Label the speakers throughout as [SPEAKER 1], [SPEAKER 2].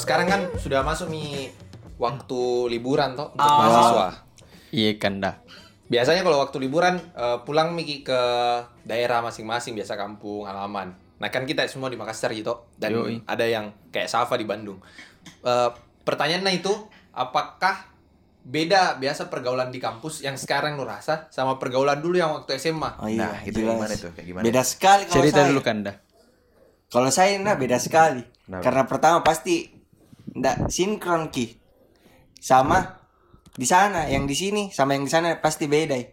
[SPEAKER 1] sekarang kan sudah masuk nih waktu liburan toh untuk
[SPEAKER 2] Ah.
[SPEAKER 1] mahasiswa.
[SPEAKER 3] Iya kan dah.
[SPEAKER 1] Biasanya kalau waktu liburan eh, pulang Miki ke daerah masing-masing biasa kampung halaman. Nah kan kita semua di Makassar gitu dan
[SPEAKER 3] Yoi.
[SPEAKER 1] ada yang kayak Safa di Bandung. Eh, pertanyaannya itu apakah beda biasa pergaulan di kampus yang sekarang lu rasa sama pergaulan dulu yang waktu SMA?
[SPEAKER 2] Oh iya,
[SPEAKER 4] Nah, itu
[SPEAKER 2] jelas.
[SPEAKER 4] gimana tuh? Kayak gimana?
[SPEAKER 2] Beda sekali kalau
[SPEAKER 3] Cerita
[SPEAKER 2] Oh, saya.
[SPEAKER 3] dulu kan dah.
[SPEAKER 2] Kalau saya nah beda sekali.
[SPEAKER 4] Hmm. Kenapa?
[SPEAKER 2] Karena pertama pasti ndak sinkron ki. Sama di sana, yang di sini sama yang di sana pasti beda. ya.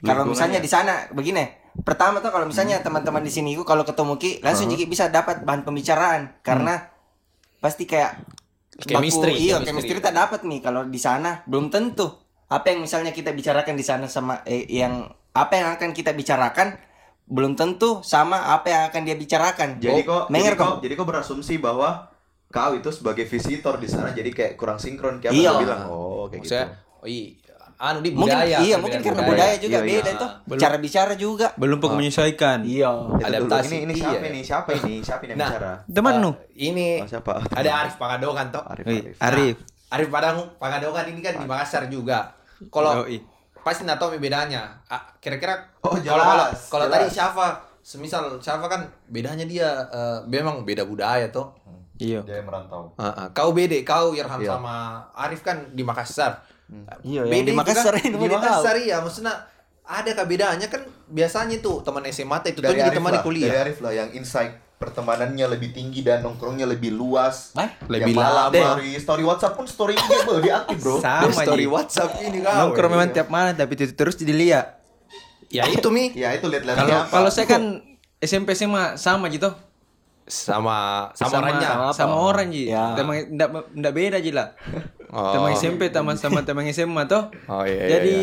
[SPEAKER 2] Kalau misalnya di sana begini, pertama tuh kalau misalnya
[SPEAKER 4] Hmm.
[SPEAKER 2] teman-teman di sini gua kalau ketemu ki langsung
[SPEAKER 4] Uh-huh.
[SPEAKER 2] jadi bisa dapat bahan pembicaraan karena
[SPEAKER 4] Hmm.
[SPEAKER 2] pasti kayak baku-
[SPEAKER 1] Chemistry,
[SPEAKER 2] Iya,
[SPEAKER 1] chemistry.
[SPEAKER 2] chemistry kita dapat nih kalau di sana belum tentu apa yang misalnya kita bicarakan di sana sama eh, yang apa yang akan kita bicarakan belum tentu sama apa yang akan dia bicarakan.
[SPEAKER 4] Jadi
[SPEAKER 2] Oh,
[SPEAKER 4] kok,
[SPEAKER 2] menger
[SPEAKER 4] jadi kok, jadi kok berasumsi bahwa kau itu sebagai visitor di sana jadi kayak kurang sinkron kayak apa
[SPEAKER 2] Iya.
[SPEAKER 4] kau bilang. Oh, kayak gitu.
[SPEAKER 1] Maksudnya, oh iya, anu di
[SPEAKER 2] mungkin
[SPEAKER 1] budaya.
[SPEAKER 2] iya
[SPEAKER 1] perbedaan
[SPEAKER 2] mungkin karena budaya, juga
[SPEAKER 4] Iya, iya.
[SPEAKER 2] beda itu
[SPEAKER 3] Belum-
[SPEAKER 2] cara bicara juga
[SPEAKER 3] Belum pun menyesuaikan.
[SPEAKER 2] iya
[SPEAKER 4] Itu dulu.
[SPEAKER 1] Adaptasi,
[SPEAKER 4] Ini, ini siapa
[SPEAKER 1] iya.
[SPEAKER 4] ini? Siapa ini? Siapa ini yang
[SPEAKER 1] Nah.
[SPEAKER 4] bicara?
[SPEAKER 3] Teman
[SPEAKER 1] Eh,
[SPEAKER 3] nu.
[SPEAKER 1] ini
[SPEAKER 4] Oh, siapa?
[SPEAKER 1] ada Arif Pangadongan toh.
[SPEAKER 4] Arif,
[SPEAKER 3] Wih,
[SPEAKER 4] Arif.
[SPEAKER 3] Arif.
[SPEAKER 1] Nah, Arif Padang Pangadongan ini kan di Makassar juga. Kalau
[SPEAKER 3] Yoi.
[SPEAKER 1] pasti nggak tahu bedanya. Ah, Kira-kira
[SPEAKER 4] Oh,
[SPEAKER 1] kalau- kalau
[SPEAKER 4] jelas,
[SPEAKER 1] kalau
[SPEAKER 4] jelas.
[SPEAKER 1] tadi siapa? Semisal siapa kan bedanya dia eh, memang beda budaya toh.
[SPEAKER 3] Iya.
[SPEAKER 4] Dia yang merantau.
[SPEAKER 1] Ah, ah. Kau beda, kau Irham
[SPEAKER 4] Iya.
[SPEAKER 1] sama Arif kan di Makassar.
[SPEAKER 2] Iya, yang
[SPEAKER 1] Beda
[SPEAKER 2] di
[SPEAKER 1] juga.
[SPEAKER 2] Makassar ini
[SPEAKER 1] di
[SPEAKER 2] mau dia
[SPEAKER 1] Makassar iya maksudnya ada kah bedanya kan biasanya tuh teman SMA itu tuh jadi teman
[SPEAKER 4] lah,
[SPEAKER 1] kuliah.
[SPEAKER 4] dari Arif lah yang insight pertemanannya lebih tinggi dan nongkrongnya lebih luas.
[SPEAKER 2] Hah?
[SPEAKER 1] Lebih
[SPEAKER 4] yang malam
[SPEAKER 1] lama.
[SPEAKER 4] hari story WhatsApp pun story dia bro, dia aktif bro.
[SPEAKER 1] Di
[SPEAKER 3] Sama
[SPEAKER 1] story
[SPEAKER 3] Ji.
[SPEAKER 1] WhatsApp ini kau.
[SPEAKER 3] Nongkrong memang
[SPEAKER 1] Iya.
[SPEAKER 3] tiap malam tapi itu terus dilihat.
[SPEAKER 1] Ya itu mi.
[SPEAKER 4] Ya itu lihat lihat
[SPEAKER 3] Kalau kalau saya kan SMP SMA sama gitu.
[SPEAKER 1] sama sama orangnya
[SPEAKER 3] sama, sama orang ji.
[SPEAKER 2] Ya.
[SPEAKER 3] Teman enggak enggak beda ji lah.
[SPEAKER 1] Oh.
[SPEAKER 3] Teman SMP sama sama teman SMA toh.
[SPEAKER 1] Oh, iya, iya,
[SPEAKER 3] Jadi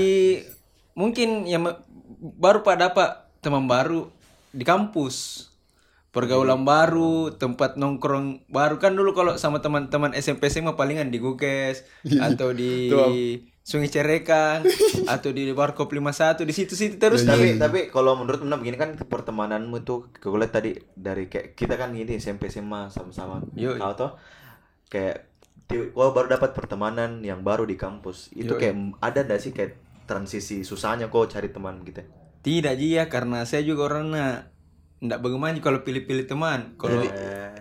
[SPEAKER 3] mungkin yang me- baru pak dapat teman baru di kampus.
[SPEAKER 1] Iya.
[SPEAKER 3] Pergaulan baru, tempat nongkrong baru kan dulu kalau sama teman-teman SMP SMA palingan di Gukes
[SPEAKER 1] Iya.
[SPEAKER 3] atau di Sungai Cerekang atau di Warkop 51 di situ-situ terus
[SPEAKER 1] Iya,
[SPEAKER 4] tapi
[SPEAKER 3] Ji.
[SPEAKER 4] tapi kalau menurut Muna begini kan pertemananmu itu gue lihat tadi dari kayak kita kan gini SMP SMA sama-sama
[SPEAKER 3] Yoi.
[SPEAKER 4] kau tuh kayak di- gua baru dapat pertemanan yang baru di kampus itu
[SPEAKER 3] Yoi.
[SPEAKER 4] kayak m- ada nggak sih kayak transisi susahnya kok cari teman gitu
[SPEAKER 3] Tidak Ji ya karena saya juga orangnya enggak bagaimana kalau pilih-pilih teman. Kalau
[SPEAKER 4] Eh,
[SPEAKER 3] dia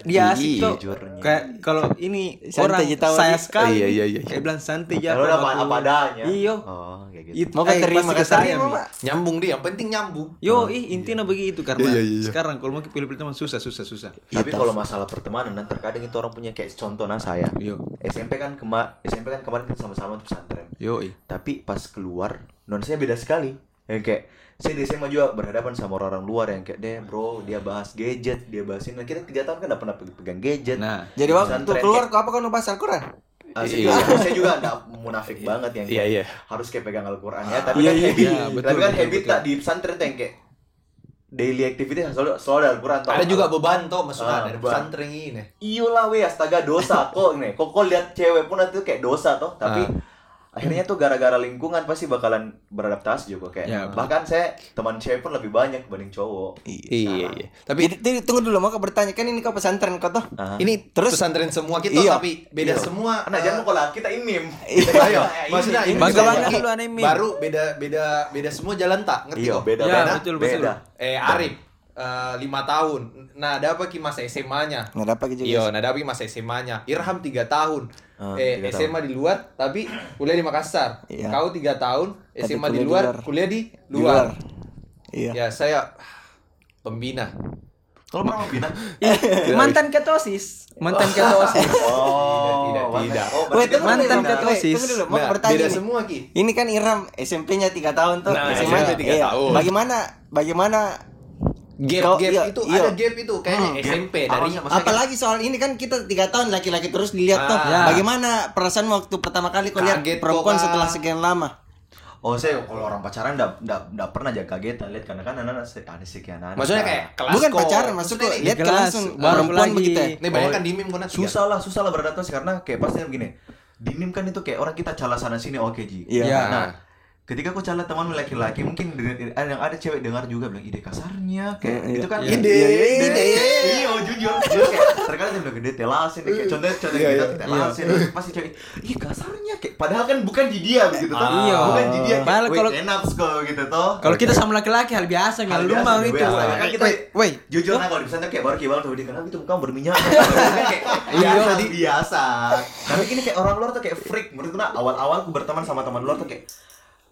[SPEAKER 3] Iya, asik tuh.
[SPEAKER 4] jujurnya.
[SPEAKER 3] Kayak kalau ini
[SPEAKER 2] Santai
[SPEAKER 3] orang
[SPEAKER 2] aja tahu,
[SPEAKER 3] saya
[SPEAKER 2] Ji.
[SPEAKER 3] sekali.
[SPEAKER 1] Iya, iya, iya, iya.
[SPEAKER 3] Kayak bilang santai aja.
[SPEAKER 4] kalau udah apa,
[SPEAKER 3] aku-
[SPEAKER 4] apa adanya
[SPEAKER 3] Iyo.
[SPEAKER 4] oh kayak gitu
[SPEAKER 3] Itu
[SPEAKER 2] mau kan
[SPEAKER 3] eh,
[SPEAKER 2] terima
[SPEAKER 3] pasti
[SPEAKER 2] ke saya
[SPEAKER 3] Mi.
[SPEAKER 1] nyambung dia yang penting nyambung
[SPEAKER 3] Yo, ih intinya begitu karena sekarang kalau mau pilih-pilih teman susah susah susah.
[SPEAKER 4] tapi kalau masalah pertemanan dan terkadang itu orang punya kayak contohnya saya
[SPEAKER 3] Yo,
[SPEAKER 4] SMP kan kema SMP kan kemarin kita sama-sama di pesantren
[SPEAKER 3] yo, ih.
[SPEAKER 4] tapi pas keluar non saya beda sekali yang kayak saya di SMA juga berhadapan sama orang-orang luar yang kayak deh bro dia bahas gadget dia bahas ini Nah, kita tiga tahun kan nggak pernah pe- pegang gadget
[SPEAKER 3] Nah, Iya.
[SPEAKER 2] jadi waktu
[SPEAKER 4] Pesantren
[SPEAKER 2] keluar kok apa kau ngebahas Al-Quran
[SPEAKER 4] kayak- ah, saya, juga- saya juga nggak munafik banget yang kayak
[SPEAKER 1] iya
[SPEAKER 4] harus kayak pegang Al-Quran ya tapi
[SPEAKER 3] iya,
[SPEAKER 4] kan
[SPEAKER 3] iya,
[SPEAKER 4] habit
[SPEAKER 3] iya, betul,
[SPEAKER 4] tapi kan
[SPEAKER 3] betul,
[SPEAKER 4] habit
[SPEAKER 3] betul.
[SPEAKER 4] tak di pesantren tuh yang kayak daily activity kan selalu selalu ada Al-Quran tau.
[SPEAKER 1] ada juga beban toh maksudnya
[SPEAKER 4] Ah,
[SPEAKER 1] dari
[SPEAKER 4] beban.
[SPEAKER 1] pesantren ini
[SPEAKER 4] iyalah Iya weh astaga dosa kok nih kok kok lihat cewek pun nanti kayak dosa toh tapi akhirnya tuh gara-gara lingkungan pasti bakalan beradaptasi juga kayak
[SPEAKER 3] Ya, betul.
[SPEAKER 4] bahkan saya teman cewek pun lebih banyak dibanding cowok
[SPEAKER 1] iya iya tapi
[SPEAKER 2] jadi jadi tunggu dulu mau kau bertanya kan ini kau pesantren kau toh
[SPEAKER 4] Nah,
[SPEAKER 1] ini terus
[SPEAKER 2] Terus-
[SPEAKER 1] pesantren semua kita
[SPEAKER 2] Iya.
[SPEAKER 1] tapi beda semua
[SPEAKER 4] anak
[SPEAKER 1] eh,
[SPEAKER 4] jangan mau Kan kalau kita imim
[SPEAKER 1] ayo,
[SPEAKER 4] Iya.
[SPEAKER 1] maksudnya Iya, ini
[SPEAKER 3] Bangga,
[SPEAKER 1] semua
[SPEAKER 3] bangga
[SPEAKER 1] lagi
[SPEAKER 3] lu, aneh, Min.
[SPEAKER 1] baru beda beda beda semua jalan tak ngerti
[SPEAKER 4] iya
[SPEAKER 1] kok
[SPEAKER 4] beda
[SPEAKER 3] Ya,
[SPEAKER 4] beda
[SPEAKER 3] betul, betul.
[SPEAKER 4] beda
[SPEAKER 1] eh Arif eh, lima tahun nah ada apa ki masa SMA nya
[SPEAKER 2] nggak dapat gitu
[SPEAKER 1] Iya, nah tapi masa SMA-nya. Irham 3 tahun.
[SPEAKER 4] Ah,
[SPEAKER 1] eh,
[SPEAKER 4] tiga
[SPEAKER 1] SMA di luar tapi kuliah di Makassar.
[SPEAKER 2] Iya.
[SPEAKER 1] Kau 3 tahun,
[SPEAKER 2] Tapi
[SPEAKER 1] SMA di
[SPEAKER 2] kuliah di
[SPEAKER 1] luar,
[SPEAKER 2] luar.
[SPEAKER 1] kuliah di
[SPEAKER 2] Di
[SPEAKER 1] luar.
[SPEAKER 2] iya
[SPEAKER 1] Ya, saya pembina.
[SPEAKER 4] kalau pernah bina
[SPEAKER 3] mantan ketosis, mantan ketosis.
[SPEAKER 4] oh
[SPEAKER 1] Oh. Tidak, tidak, tidak.
[SPEAKER 4] oh,
[SPEAKER 2] Weh,
[SPEAKER 4] berarti-
[SPEAKER 2] tunggu dulu,
[SPEAKER 3] Mantan
[SPEAKER 2] weh, tunggu
[SPEAKER 3] ketosis.
[SPEAKER 2] dulu mau
[SPEAKER 1] Nah,
[SPEAKER 2] kau bertanya
[SPEAKER 1] beda
[SPEAKER 2] nih.
[SPEAKER 1] semua Ki.
[SPEAKER 2] ini kan Iram SMP-nya 3 tahun tuh
[SPEAKER 1] Nah,
[SPEAKER 2] SMA-nya
[SPEAKER 1] SMP tiga tahun.
[SPEAKER 2] Iya. bagaimana bagaimana
[SPEAKER 1] Gap
[SPEAKER 2] Kau-
[SPEAKER 1] gap
[SPEAKER 2] iya,
[SPEAKER 1] itu
[SPEAKER 2] iya.
[SPEAKER 1] ada gap itu kayaknya SMP dari
[SPEAKER 4] Awalnya maksudnya
[SPEAKER 2] apalagi soal ini kan kita tiga tahun laki-laki terus dilihat tuh
[SPEAKER 1] Ah.
[SPEAKER 2] bagaimana perasaan waktu pertama kali kau lihat
[SPEAKER 1] Kaget kau,
[SPEAKER 2] perempuan
[SPEAKER 1] Pak.
[SPEAKER 2] setelah sekian lama
[SPEAKER 4] Oh saya kalau orang pacaran ndak ndak ndak pernah aja kagetan lihat karena kan anak-anak se- ada sekian anak.
[SPEAKER 1] maksudnya kayak kelas
[SPEAKER 2] bukan
[SPEAKER 1] kok.
[SPEAKER 2] pacaran maksudku
[SPEAKER 1] Maksudnya
[SPEAKER 2] lihat
[SPEAKER 3] di
[SPEAKER 2] ke
[SPEAKER 3] kelas,
[SPEAKER 2] langsung
[SPEAKER 3] baru
[SPEAKER 2] perempuan
[SPEAKER 3] lagi.
[SPEAKER 2] begitu ya.
[SPEAKER 1] Ini banyak kan dimin kena tiga.
[SPEAKER 4] susah lah susah lah beradaptasi karena kayak pasti begini dinim kan itu kayak orang kita cala sana sini oke ji
[SPEAKER 2] Iya.
[SPEAKER 3] Iya.
[SPEAKER 4] nah ketika aku cala teman laki-laki mungkin dengan- ada yang ada cewek dengar juga bilang ide kasarnya kayak
[SPEAKER 2] Iya,
[SPEAKER 4] itu kan
[SPEAKER 2] iya. Ide, ide.
[SPEAKER 4] iya jujur jujur kayak terkadang dia bilang gede telasin kayak contohnya contoh
[SPEAKER 5] Iya,
[SPEAKER 4] kita
[SPEAKER 5] iya.
[SPEAKER 4] telasin pasti cewek ih kasarnya kayak padahal kan bukan di dia begitu toh
[SPEAKER 3] Iya.
[SPEAKER 4] bukan di dia kayak
[SPEAKER 3] Padahal
[SPEAKER 4] wih
[SPEAKER 3] kalau-
[SPEAKER 4] enak kok gitu toh
[SPEAKER 3] Kalau kita sama laki-laki hal biasa,
[SPEAKER 4] Hal
[SPEAKER 3] nggak
[SPEAKER 4] biasa,
[SPEAKER 3] lumang
[SPEAKER 4] hal
[SPEAKER 3] itu.
[SPEAKER 4] biasa. Kan kita-
[SPEAKER 3] Wait, wait.
[SPEAKER 4] jujur nah kalau di pesantren kayak baru kibal tuh dia kenapa itu gitu, muka berminyak Kayak
[SPEAKER 3] Iya.
[SPEAKER 4] biasa biasa tapi gini kayak orang luar tuh kayak freak menurutku nah awal-awal aku berteman sama teman luar tuh kayak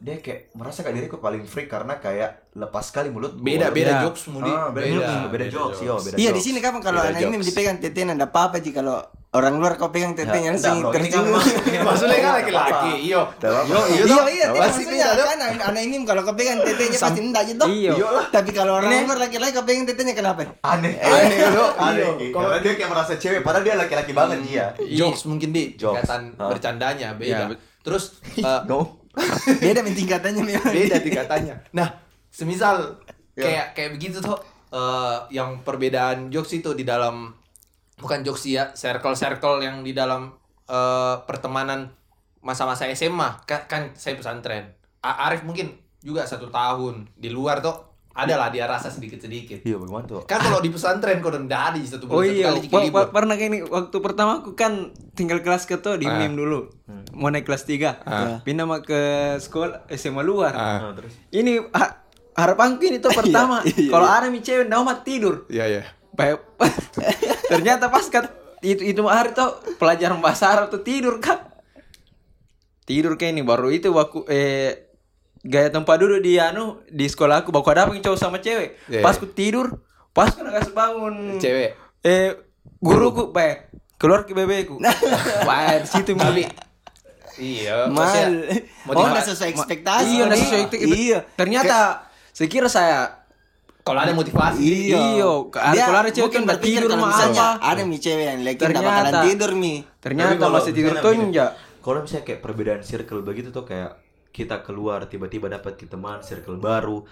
[SPEAKER 4] dia kayak merasa kayak diriku paling freak karena kayak lepas sekali mulut
[SPEAKER 1] Beda beda
[SPEAKER 3] Iya.
[SPEAKER 1] jobs mudi.
[SPEAKER 4] Ah, beda, jokes, beda, jokes, yo, beda
[SPEAKER 2] Iya
[SPEAKER 4] jokes.
[SPEAKER 2] di sini
[SPEAKER 3] kan
[SPEAKER 2] kapan kalau
[SPEAKER 5] Beda
[SPEAKER 2] anak ini
[SPEAKER 5] jokes.
[SPEAKER 2] dipegang tetenya ada apa-apa sih kalau orang luar kau pegang
[SPEAKER 4] Iya.
[SPEAKER 2] tetenya langsung tersinggung.
[SPEAKER 1] Maksudnya kan laki-laki, iyo. Iyo, iyo.
[SPEAKER 2] Iya
[SPEAKER 1] toh.
[SPEAKER 2] iya tapi
[SPEAKER 1] Pasti
[SPEAKER 2] maksudnya
[SPEAKER 1] beda,
[SPEAKER 2] kan anak anak ini kalau kau pegang tetenya pasti enggak aja dong.
[SPEAKER 3] Iya.
[SPEAKER 2] Tapi kalau orang luar laki-laki kau pegang tetenya kenapa?
[SPEAKER 1] Aneh,
[SPEAKER 4] aneh
[SPEAKER 1] yo.
[SPEAKER 4] aneh iya. Hmm.
[SPEAKER 1] Iyo.
[SPEAKER 4] kalau dia kayak merasa cewek padahal dia laki-laki banget iya. dia
[SPEAKER 1] Jokes mungkin di
[SPEAKER 4] Jokes.
[SPEAKER 1] tingkatan
[SPEAKER 4] Ah.
[SPEAKER 1] bercandanya beda.
[SPEAKER 3] Iya, bet-
[SPEAKER 1] Terus eh,
[SPEAKER 2] Beda main tingkatannya memang.
[SPEAKER 1] beda Ya. tingkatannya. Nah, semisal kayak kayak begitu tuh eh, yang perbedaan jokes itu di dalam bukan jokes sih ya, circle-circle yang di dalam eh, pertemanan masa-masa SMA kan, kan saya pesantren. A- Arif mungkin juga satu tahun di luar tuh adalah dia rasa sedikit-sedikit.
[SPEAKER 4] iya bagaimana tuh
[SPEAKER 1] Kan kalau di pesantren kau rendah di satu
[SPEAKER 3] Oh
[SPEAKER 1] bulan
[SPEAKER 3] iya,
[SPEAKER 1] satu kali
[SPEAKER 3] wa-
[SPEAKER 1] ciki libur.
[SPEAKER 3] wa- pernah kayak ini waktu pertama aku kan tinggal kelas ke tuh di UNIM dulu. Mau naik kelas 3. Pindah mah ke sekolah eh, SMA luar.
[SPEAKER 1] Ah,
[SPEAKER 4] Nah, terus
[SPEAKER 3] Ini ha- harapanku ini tuh pertama kalau ada mi cewek ndak mau tidur.
[SPEAKER 1] Iya iya.
[SPEAKER 3] Baik. Ternyata pas kat- itu itu hari tuh pelajaran bahasa Arab tuh tidur kan. Tidur kayak ini baru itu waktu eh gaya tempat duduk di anu di sekolah aku baku ada apa yang cowok sama cewek.
[SPEAKER 1] Iya,
[SPEAKER 3] Pas
[SPEAKER 1] iya.
[SPEAKER 3] ku tidur, pas ku nggak bangun.
[SPEAKER 1] Cewek.
[SPEAKER 3] Eh, guruku, Pak. Keluar ke bebeku. Pak, di situ Mili.
[SPEAKER 1] Iya. maksudnya
[SPEAKER 2] Mal. Oh
[SPEAKER 1] motiva-
[SPEAKER 2] nggak sesuai ekspektasi.
[SPEAKER 3] Iya, nggak
[SPEAKER 2] nih.
[SPEAKER 3] sesuai itu. itu.
[SPEAKER 2] Iya.
[SPEAKER 3] Ternyata sekira saya
[SPEAKER 1] kalau ada motivasi
[SPEAKER 3] Iya, ada
[SPEAKER 2] Dia
[SPEAKER 3] kalau ada cewek
[SPEAKER 2] mungkin
[SPEAKER 3] kan nggak
[SPEAKER 2] berpikir
[SPEAKER 3] tidur
[SPEAKER 2] kalau
[SPEAKER 3] mah
[SPEAKER 2] misalnya
[SPEAKER 3] apa.
[SPEAKER 2] Ada mi cewek yang laki nggak
[SPEAKER 3] Ternyata.
[SPEAKER 2] bakalan tidur mi.
[SPEAKER 3] ternyata
[SPEAKER 4] Tapi kalau
[SPEAKER 3] masih tidur
[SPEAKER 4] misalnya begini,
[SPEAKER 3] tunja.
[SPEAKER 4] Kalau misalnya kayak perbedaan circle begitu tuh kayak kita keluar tiba-tiba dapat ke teman circle baru.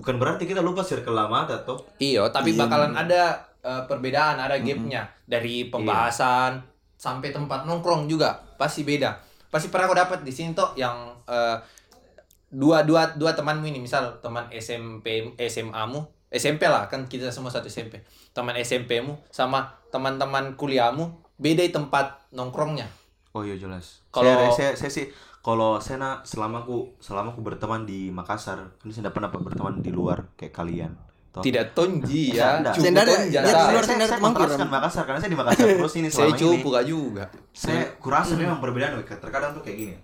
[SPEAKER 4] Bukan berarti kita lupa circle lama ada toh.
[SPEAKER 1] Iya, tapi bakalan ada eh, perbedaan, ada gapnya
[SPEAKER 4] Iya.
[SPEAKER 1] dari pembahasan sampai tempat nongkrong juga pasti beda. Pasti pernah aku dapat di sini tuh yang eh, dua dua dua temanmu ini misal teman SMP SMA-mu, SMP lah kan kita semua satu SMP. Teman SMP-mu sama teman-teman kuliahmu beda di tempat nongkrongnya.
[SPEAKER 4] Oh iya jelas.
[SPEAKER 1] Kalau-
[SPEAKER 4] Kalau saya, saya, sih kalau saya nah, selama aku selama aku berteman di Makassar, ini saya tidak pernah berteman di luar kayak kalian. Toh.
[SPEAKER 1] Tidak tonji ya.
[SPEAKER 4] Tidak.
[SPEAKER 1] Cukup
[SPEAKER 2] Sendara-
[SPEAKER 1] tonja.
[SPEAKER 2] dia
[SPEAKER 4] Oh. Saya,
[SPEAKER 2] luar
[SPEAKER 4] saya,
[SPEAKER 2] sendiri
[SPEAKER 4] saya
[SPEAKER 2] teman kurang.
[SPEAKER 4] kontraskan Makassar karena saya di Makassar terus ini
[SPEAKER 1] Saya
[SPEAKER 4] selama ini.
[SPEAKER 1] cupu gak juga.
[SPEAKER 4] saya
[SPEAKER 1] Hmm.
[SPEAKER 4] kurasa memang perbedaan Wih. terkadang tuh kayak gini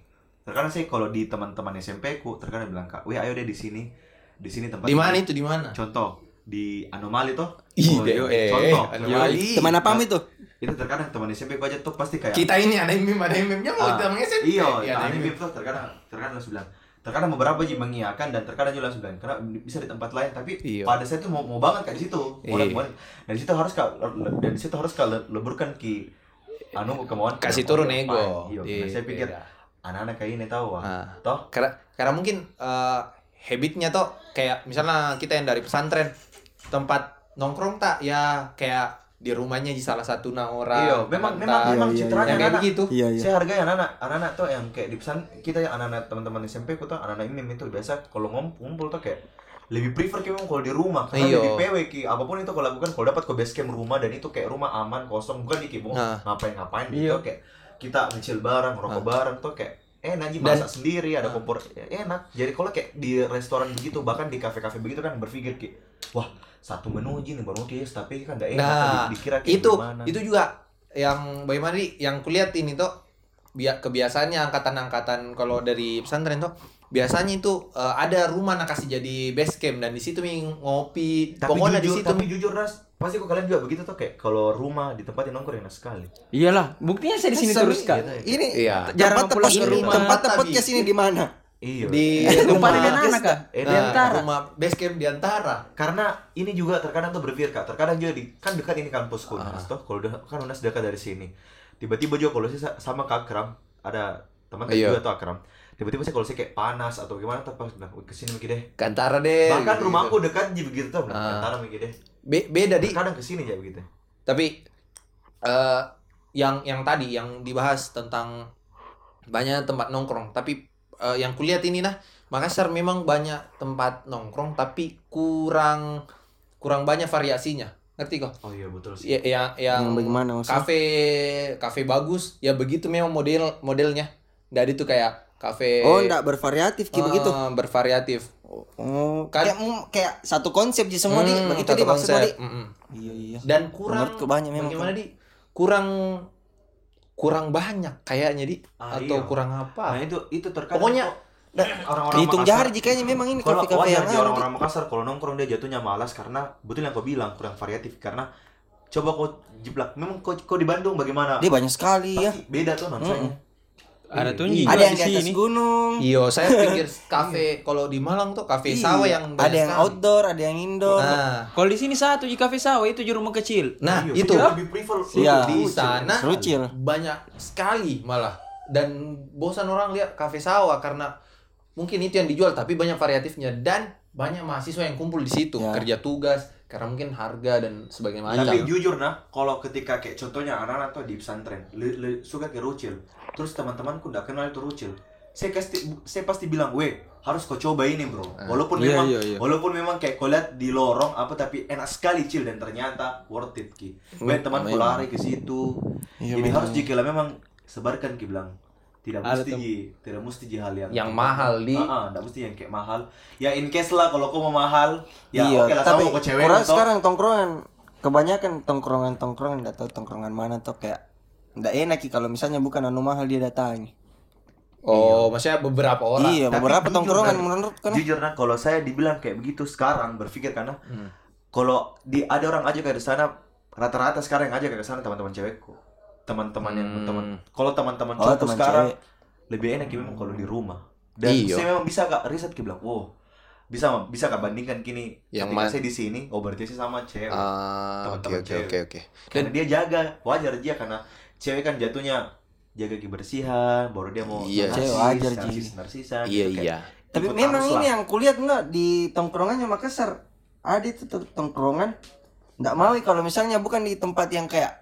[SPEAKER 4] terkadang saya kalau di teman-teman SMP ku terkadang bilang kak weh ayo deh di sini di sini tempat
[SPEAKER 1] Di mana
[SPEAKER 4] ini."
[SPEAKER 1] itu di mana?
[SPEAKER 4] contoh di anomali toh
[SPEAKER 1] Ih,
[SPEAKER 4] Oh,
[SPEAKER 1] deh, eh,
[SPEAKER 4] contoh
[SPEAKER 1] anomali.
[SPEAKER 4] Iya.
[SPEAKER 2] Teman apa mi tuh?
[SPEAKER 4] itu terkadang teman SMP ku aja tuh pasti kayak
[SPEAKER 1] Kita ini ada meme, ada meme-nya mau
[SPEAKER 4] Ah,
[SPEAKER 1] kita ngomongnya SMP. Iya,
[SPEAKER 4] iya nah,
[SPEAKER 1] ada
[SPEAKER 4] ini
[SPEAKER 1] meme.
[SPEAKER 4] meme tuh terkadang terkadang langsung bilang terkadang beberapa juga mengiyakan dan terkadang juga langsung bilang karena bisa di tempat lain tapi
[SPEAKER 1] Iya.
[SPEAKER 4] pada saya tuh mau mau banget kayak di situ mau
[SPEAKER 1] Iya.
[SPEAKER 4] mau- dan di situ harus kak dan di situ harus kak le- leburkan ki anu kemauan
[SPEAKER 1] Kasih turun
[SPEAKER 4] Iya,
[SPEAKER 1] ego. Iya,
[SPEAKER 4] iya karena saya pikir
[SPEAKER 1] beda.
[SPEAKER 4] anak-anak kayak ini tahu wah.
[SPEAKER 1] Ah.
[SPEAKER 4] toh
[SPEAKER 1] karena karena mungkin eh, habitnya tuh kayak misalnya kita yang dari pesantren tempat nongkrong tak ya kayak di rumahnya di salah satu nah orang
[SPEAKER 4] Iya, memang
[SPEAKER 1] teman tak.
[SPEAKER 4] memang memang
[SPEAKER 2] Iya, iya,
[SPEAKER 1] yang
[SPEAKER 4] citranya
[SPEAKER 1] kayak
[SPEAKER 4] anak-anak.
[SPEAKER 1] begitu
[SPEAKER 2] Iya iya.
[SPEAKER 4] Saya hargai anak-anak, anak-anak tuh yang kayak di pesan kita yang anak-anak teman-teman SMP ku tuh anak-anak ini itu biasa kalau ngom- ngumpul tuh kayak lebih prefer kayak memang kalau di rumah karena
[SPEAKER 1] Iya.
[SPEAKER 4] lebih PW ki apapun itu kalau lakukan kalau dapat ke base camp rumah dan itu kayak rumah aman kosong bukan di kibong
[SPEAKER 1] Nah.
[SPEAKER 4] ngapain ngapain gitu kayak kita ngecil bareng rokok bareng tuh kayak enak aja
[SPEAKER 1] Dan- Nah.
[SPEAKER 4] masak sendiri ada kompor ya, enak jadi kalau kayak di restoran begitu bahkan di kafe-kafe begitu kan berpikir ki wah satu menu aja nih baru dia tapi kan gak enak
[SPEAKER 1] Nah,
[SPEAKER 4] di- dikira kayak
[SPEAKER 1] itu
[SPEAKER 4] gimana.
[SPEAKER 1] itu juga yang bagaimana Ri, yang kulihat ini tuh biar kebiasaannya angkatan-angkatan kalau dari pesantren tuh biasanya itu eh, ada rumah nah kasih jadi base camp dan di situ Mi, ngopi
[SPEAKER 4] tapi
[SPEAKER 1] pokoknya di
[SPEAKER 4] jujur,
[SPEAKER 1] situ
[SPEAKER 4] tapi jujur ras pasti kok kalian juga begitu tuh kayak kalau rumah di tempat yang nongkrong enak sekali
[SPEAKER 3] Iyalah, buktinya saya di sini
[SPEAKER 2] Masa, Mi?
[SPEAKER 3] terus kan.
[SPEAKER 2] Ini
[SPEAKER 1] Iya.
[SPEAKER 3] Jarang
[SPEAKER 2] jarang
[SPEAKER 3] pulang
[SPEAKER 2] tempat
[SPEAKER 3] ke
[SPEAKER 2] tempat
[SPEAKER 3] rumah.
[SPEAKER 2] tempat
[SPEAKER 1] Tapi-
[SPEAKER 2] podcast ini di mana?
[SPEAKER 4] iya
[SPEAKER 1] di
[SPEAKER 3] Lupa
[SPEAKER 1] rumah
[SPEAKER 3] di anak kan?
[SPEAKER 4] eh,
[SPEAKER 1] Nah,
[SPEAKER 4] di antara.
[SPEAKER 1] rumah base camp di antara
[SPEAKER 4] karena ini juga terkadang tuh berpikir kak terkadang juga di kan dekat ini kampusku Unas tuh kalau udah kan Unas dekat dari sini tiba-tiba juga kalau saya sa- sama kak Akram ada teman saya
[SPEAKER 1] Iya.
[SPEAKER 4] juga tuh Akram tiba-tiba saya kalau saya kayak panas atau gimana tuh pas bilang "Wih, kesini mungkin deh
[SPEAKER 1] ke antara deh
[SPEAKER 4] bahkan
[SPEAKER 1] gitu.
[SPEAKER 4] rumahku dekat jadi begitu tuh
[SPEAKER 1] Ah. Iya,
[SPEAKER 4] antara mungkin deh
[SPEAKER 1] Be- beda di
[SPEAKER 4] kadang kesini aja begitu
[SPEAKER 1] tapi eh yang yang tadi yang dibahas tentang banyak tempat nongkrong tapi eh, yang kulihat ini nah Makassar memang banyak tempat nongkrong tapi kurang kurang banyak variasinya ngerti kok
[SPEAKER 4] Oh iya betul
[SPEAKER 1] ya,
[SPEAKER 4] sih.
[SPEAKER 1] yang yang
[SPEAKER 2] Yang bagaimana maksudnya?
[SPEAKER 1] kafe kafe bagus ya begitu memang model modelnya dari itu kayak
[SPEAKER 3] Eh.
[SPEAKER 1] kafe
[SPEAKER 2] Oh, enggak bervariatif
[SPEAKER 1] eh,
[SPEAKER 2] kayak begitu.
[SPEAKER 1] bervariatif
[SPEAKER 2] Oh,
[SPEAKER 1] Kan-
[SPEAKER 2] kayak mu- kayak satu konsep di semua di
[SPEAKER 1] Hmm,
[SPEAKER 2] begitu
[SPEAKER 1] satu
[SPEAKER 2] di maksudnya
[SPEAKER 1] konsep.
[SPEAKER 2] di.
[SPEAKER 1] Mm-mm.
[SPEAKER 2] Iya iya.
[SPEAKER 1] dan kurang
[SPEAKER 2] Menurutku banyak memang.
[SPEAKER 1] bagaimana di kurang kurang banyak kayaknya di
[SPEAKER 4] Ah,
[SPEAKER 1] atau
[SPEAKER 4] iya.
[SPEAKER 1] kurang apa
[SPEAKER 4] Nah itu itu terkadang
[SPEAKER 1] Pokoknya,
[SPEAKER 4] kok orang-orang
[SPEAKER 2] Dihitung
[SPEAKER 4] Makassar-
[SPEAKER 2] jari jikanya memang
[SPEAKER 1] Kan
[SPEAKER 2] ini
[SPEAKER 4] kalau
[SPEAKER 2] kafe-kafe
[SPEAKER 4] wajar
[SPEAKER 2] yang
[SPEAKER 4] sih
[SPEAKER 2] ada,
[SPEAKER 4] orang-orang Makassar kalau nongkrong dia jatuhnya malas karena betul yang kau bilang kurang variatif karena coba kau jiplak memang kau, kau di Bandung bagaimana
[SPEAKER 2] Dia banyak sekali
[SPEAKER 1] Iya.
[SPEAKER 2] ya.
[SPEAKER 4] pasti beda tuh nuansanya
[SPEAKER 3] Ada tunji
[SPEAKER 2] Ada
[SPEAKER 4] Iya,
[SPEAKER 3] juga
[SPEAKER 2] yang di atas
[SPEAKER 3] sini.
[SPEAKER 2] gunung,
[SPEAKER 1] Iyo, saya pikir kafe kalau di Malang tuh kafe sawah yang
[SPEAKER 2] Iya. ada
[SPEAKER 1] banyak
[SPEAKER 2] yang
[SPEAKER 1] sekali.
[SPEAKER 2] outdoor, ada yang indoor.
[SPEAKER 1] Nah,
[SPEAKER 3] Kalau di sini satu di kafe sawah itu di rumah kecil.
[SPEAKER 1] nah
[SPEAKER 4] Iya,
[SPEAKER 1] itu
[SPEAKER 4] dia lebih prefer
[SPEAKER 2] Iya.
[SPEAKER 1] di
[SPEAKER 4] di
[SPEAKER 1] sana
[SPEAKER 2] Serucil.
[SPEAKER 1] banyak sekali malah dan bosan orang lihat kafe sawah karena mungkin itu yang dijual tapi banyak variatifnya dan banyak mahasiswa yang kumpul di situ
[SPEAKER 2] Ya.
[SPEAKER 1] kerja tugas karena mungkin harga dan sebagainya
[SPEAKER 4] tapi jujur nah kalau ketika kayak contohnya anak-anak tuh di pesantren le- le- suka ke rucil terus teman-temanku ndak kenal itu rucil saya pasti saya pasti bilang weh harus kau coba ini bro walaupun
[SPEAKER 3] Iya,
[SPEAKER 4] memang
[SPEAKER 3] iya, iya.
[SPEAKER 4] walaupun memang kayak kau lihat di lorong apa tapi enak sekali cil dan ternyata worth it ki banyak temanku
[SPEAKER 2] memang.
[SPEAKER 4] lari ke situ
[SPEAKER 2] Iya,
[SPEAKER 4] jadi
[SPEAKER 2] memang.
[SPEAKER 4] harus jika lah memang sebarkan ki bilang tidak
[SPEAKER 3] Ada
[SPEAKER 4] mesti
[SPEAKER 3] tem-
[SPEAKER 4] Ji. tidak mesti Ji hal yang
[SPEAKER 1] Yang mahal, Di.
[SPEAKER 4] Ah, ah, ndak mesti yang kayak mahal ya in case lah kalau kau mau mahal ya
[SPEAKER 2] iya,
[SPEAKER 4] oke lah
[SPEAKER 2] tapi
[SPEAKER 4] sama kau cewek
[SPEAKER 2] orang
[SPEAKER 4] toh.
[SPEAKER 2] sekarang tongkrongan kebanyakan tongkrongan tongkrongan enggak tahu tongkrongan mana tuh kayak enggak enak ki kalau misalnya bukan anu mahal dia datangi.
[SPEAKER 1] oh maksudnya beberapa orang
[SPEAKER 2] iya,
[SPEAKER 4] Tapi
[SPEAKER 2] beberapa
[SPEAKER 4] jujur,
[SPEAKER 2] tongkrongan
[SPEAKER 4] Nan.
[SPEAKER 2] menurut kan.
[SPEAKER 4] jujur nah kalau saya dibilang kayak begitu sekarang berpikir karena
[SPEAKER 1] Hmm.
[SPEAKER 4] kalau di ada orang aja kayak di sana rata-rata sekarang yang aja kayak di sana teman-teman cewekku teman-teman yang
[SPEAKER 1] Hmm.
[SPEAKER 4] teman kalau teman-teman
[SPEAKER 2] Oh,
[SPEAKER 4] cowokku
[SPEAKER 2] teman
[SPEAKER 4] sekarang
[SPEAKER 2] cewek.
[SPEAKER 4] lebih enak ya memang kalau di rumah dan
[SPEAKER 1] Iya.
[SPEAKER 4] saya memang bisa kak riset kayak bilang wow bisa bisa kak bandingkan kini
[SPEAKER 1] Yang
[SPEAKER 4] ketika
[SPEAKER 1] mana-
[SPEAKER 4] saya di sini oh berarti saya sama cewek
[SPEAKER 1] Ah, oke
[SPEAKER 4] Teman-teman
[SPEAKER 1] oke
[SPEAKER 4] cewek.
[SPEAKER 1] oke oke.
[SPEAKER 4] dan dia jaga wajar dia karena cewek kan jatuhnya jaga kebersihan baru dia mau
[SPEAKER 1] Iya.
[SPEAKER 4] narsis,
[SPEAKER 2] Cewek wajar, Ji.
[SPEAKER 4] narsis, narsisan
[SPEAKER 1] Iya
[SPEAKER 4] gitu, kayak
[SPEAKER 1] iya.
[SPEAKER 2] Tapi
[SPEAKER 4] ikut
[SPEAKER 2] memang
[SPEAKER 4] arus
[SPEAKER 2] ini
[SPEAKER 4] lah.
[SPEAKER 2] yang kulihat enggak di tongkrongannya Makassar. Ada itu tuh tongkrongan enggak mau kalau misalnya bukan di tempat yang kayak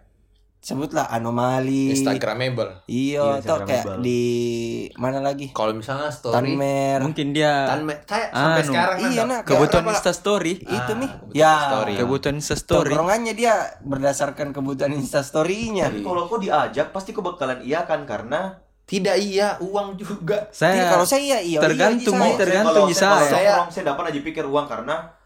[SPEAKER 2] sebutlah anomali.
[SPEAKER 1] Instagramable.
[SPEAKER 2] Iya,
[SPEAKER 4] Iya,
[SPEAKER 2] atau kayak
[SPEAKER 4] Instagramable.
[SPEAKER 2] di mana lagi?
[SPEAKER 1] Kalau misalnya story
[SPEAKER 2] Tanmer.
[SPEAKER 3] Mungkin dia
[SPEAKER 1] Tanme- saya sampai
[SPEAKER 3] Anu.
[SPEAKER 1] sekarang
[SPEAKER 2] Iya,
[SPEAKER 1] Nanda.
[SPEAKER 2] nak.
[SPEAKER 3] kebutuhan
[SPEAKER 1] Berapa-
[SPEAKER 3] Insta story.
[SPEAKER 1] Ah,
[SPEAKER 2] itu nih.
[SPEAKER 1] kebutuhan
[SPEAKER 2] Ya.
[SPEAKER 1] story.
[SPEAKER 3] Kebutuhan Insta story.
[SPEAKER 2] Tongkrongannya dia berdasarkan kebutuhan instastory-nya.
[SPEAKER 1] Iya.
[SPEAKER 4] Tapi kalau kau diajak pasti kau bakalan iya kan karena
[SPEAKER 1] Tidak iya, uang juga.
[SPEAKER 2] Iya,
[SPEAKER 3] Saya
[SPEAKER 2] kalau saya iya, iya,
[SPEAKER 3] tergantung,
[SPEAKER 2] iya,
[SPEAKER 3] Ini
[SPEAKER 2] saya.
[SPEAKER 3] tergantung di
[SPEAKER 4] saya.
[SPEAKER 1] saya.
[SPEAKER 4] Saya saya dapat aja pikir uang karena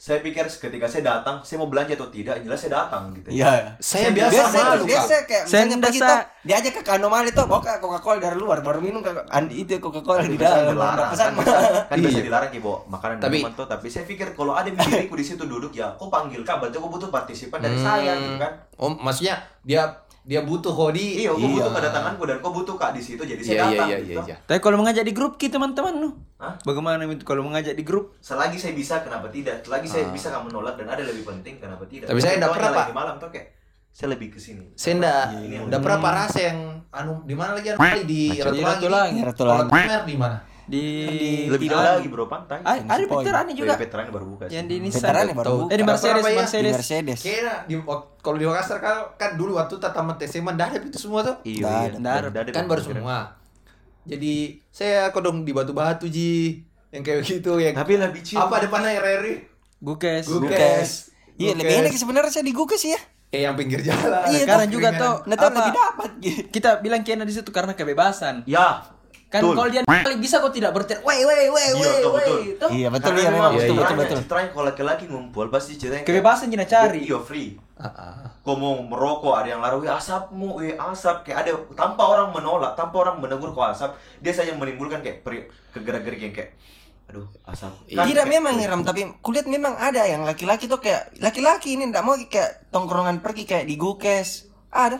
[SPEAKER 4] saya pikir ketika saya datang, saya mau belanja atau tidak, yang jelas saya datang gitu.
[SPEAKER 2] Iya.
[SPEAKER 1] Saya
[SPEAKER 4] biasa
[SPEAKER 1] biasa,
[SPEAKER 2] Biasa,
[SPEAKER 1] malu, Kak.
[SPEAKER 2] biasa kayak
[SPEAKER 3] Saya
[SPEAKER 2] misalnya
[SPEAKER 3] ndak
[SPEAKER 2] pergi
[SPEAKER 3] sa-
[SPEAKER 2] tuh, diajak ke anomali tuh, bawa ke Coca-Cola dari luar, baru minum ke Andi itu ya, Coca-Cola di dalam. Ada
[SPEAKER 4] Kan dilarang.
[SPEAKER 2] Pesan
[SPEAKER 4] Kan, biasa- kan biasa
[SPEAKER 1] Iya.
[SPEAKER 4] dilarang ya bawa makanan
[SPEAKER 1] Tapi-
[SPEAKER 4] minuman tuh, tapi saya pikir kalau ada diriku di situ duduk ya, kau panggil kak, berarti kau butuh partisipan dari saya gitu kan.
[SPEAKER 1] Hmm. Oh, maksudnya dia dia butuh hodi.
[SPEAKER 4] Iya, kau butuh kedatanganku dan kau butuh kak di situ, jadi saya
[SPEAKER 1] Iya iya
[SPEAKER 4] datang
[SPEAKER 1] iya
[SPEAKER 4] gitu.
[SPEAKER 1] iya. iya.
[SPEAKER 3] Tapi kalau mengajak di grup kita teman-teman lu.
[SPEAKER 4] Hah?
[SPEAKER 3] Bagaimana itu kalau mengajak di grup?
[SPEAKER 4] Selagi saya bisa, kenapa tidak? Selagi saya bisa nggak menolak dan ada lebih penting, kenapa tidak?
[SPEAKER 1] Ah. Tapi saya nggak
[SPEAKER 4] contohnya
[SPEAKER 1] pernah,
[SPEAKER 4] lagi malam tuh kayak saya lebih ke sini.
[SPEAKER 1] Saya enggak
[SPEAKER 2] Iya,
[SPEAKER 4] Ini yang
[SPEAKER 1] enggak pernah parah saya yang anu di mana lagi anu kali di Ratu
[SPEAKER 3] Di
[SPEAKER 1] Langit.
[SPEAKER 3] Ratu Langit.
[SPEAKER 2] iya, Ratu
[SPEAKER 1] Kalau
[SPEAKER 2] Langit.
[SPEAKER 1] Tanmer di mana?
[SPEAKER 3] Di
[SPEAKER 4] Lebih
[SPEAKER 3] Tidak.
[SPEAKER 4] lagi bro pantai.
[SPEAKER 3] Ah, ada
[SPEAKER 2] Poin.
[SPEAKER 3] Peter Ani juga.
[SPEAKER 4] Dari veteran baru buka sih. Iya,
[SPEAKER 3] Yang di Nissan.
[SPEAKER 2] Veteran ya baru
[SPEAKER 1] Tahu. ya?
[SPEAKER 2] buka.
[SPEAKER 3] Eh di Mercedes,
[SPEAKER 1] Surabaya.
[SPEAKER 2] Di
[SPEAKER 3] Mercedes.
[SPEAKER 2] Mercedes.
[SPEAKER 1] Kira di wak- kalau di Makassar kan, kan dulu waktu tataman SMA dah ada itu semua tuh.
[SPEAKER 4] Iya,
[SPEAKER 2] Nggak
[SPEAKER 4] iya.
[SPEAKER 2] ada.
[SPEAKER 4] Nggak ada.
[SPEAKER 1] kan baru semua. Jadi saya kodong di batu-batu ji yang kayak gitu yang
[SPEAKER 4] Tapi lebih chill.
[SPEAKER 1] apa depannya RRI?
[SPEAKER 3] Gukes.
[SPEAKER 1] Gukes.
[SPEAKER 2] Iya, lebih enak sebenarnya saya di Gukes ya.
[SPEAKER 1] Eh yang pinggir jalan. Kan
[SPEAKER 2] Iya,
[SPEAKER 3] sekarang
[SPEAKER 1] Keringan.
[SPEAKER 3] juga tuh
[SPEAKER 2] Nah, tapi
[SPEAKER 3] apa-
[SPEAKER 2] lebih dapat gitu.
[SPEAKER 3] Kita bilang Kiana di situ karena kebebasan.
[SPEAKER 4] Ya.
[SPEAKER 3] Kan
[SPEAKER 4] betul.
[SPEAKER 3] kalau dia kali bisa kok tidak berteriak. Wei wei wei
[SPEAKER 2] Eh,
[SPEAKER 3] wei
[SPEAKER 4] Iya, betul,
[SPEAKER 3] wei.
[SPEAKER 4] betul.
[SPEAKER 3] Toh,
[SPEAKER 2] Iya, betul
[SPEAKER 4] Karena
[SPEAKER 2] ya memang
[SPEAKER 1] iya, iya.
[SPEAKER 2] betul betul
[SPEAKER 4] citranya-
[SPEAKER 2] betul.
[SPEAKER 4] citranya kalau laki-laki ngumpul pasti ceritanya kayak,
[SPEAKER 3] Kebebasan kita cari.
[SPEAKER 4] Iya, free.
[SPEAKER 1] Ah, ah.
[SPEAKER 4] Kau mau merokok, ada yang larang, "Wih, asapmu, wih, asap." Kayak ada tanpa orang menolak, tanpa orang menegur kau asap, dia saja menimbulkan kayak peri- kegerak-gerik yang kayak aduh, asap.
[SPEAKER 3] Iya.
[SPEAKER 4] Kan
[SPEAKER 2] Tidak
[SPEAKER 4] kayak-
[SPEAKER 2] memang Hiram, tapi kulihat memang ada yang laki-laki tuh kayak laki-laki ini ndak mau kayak tongkrongan pergi kayak di Gukes. Ada.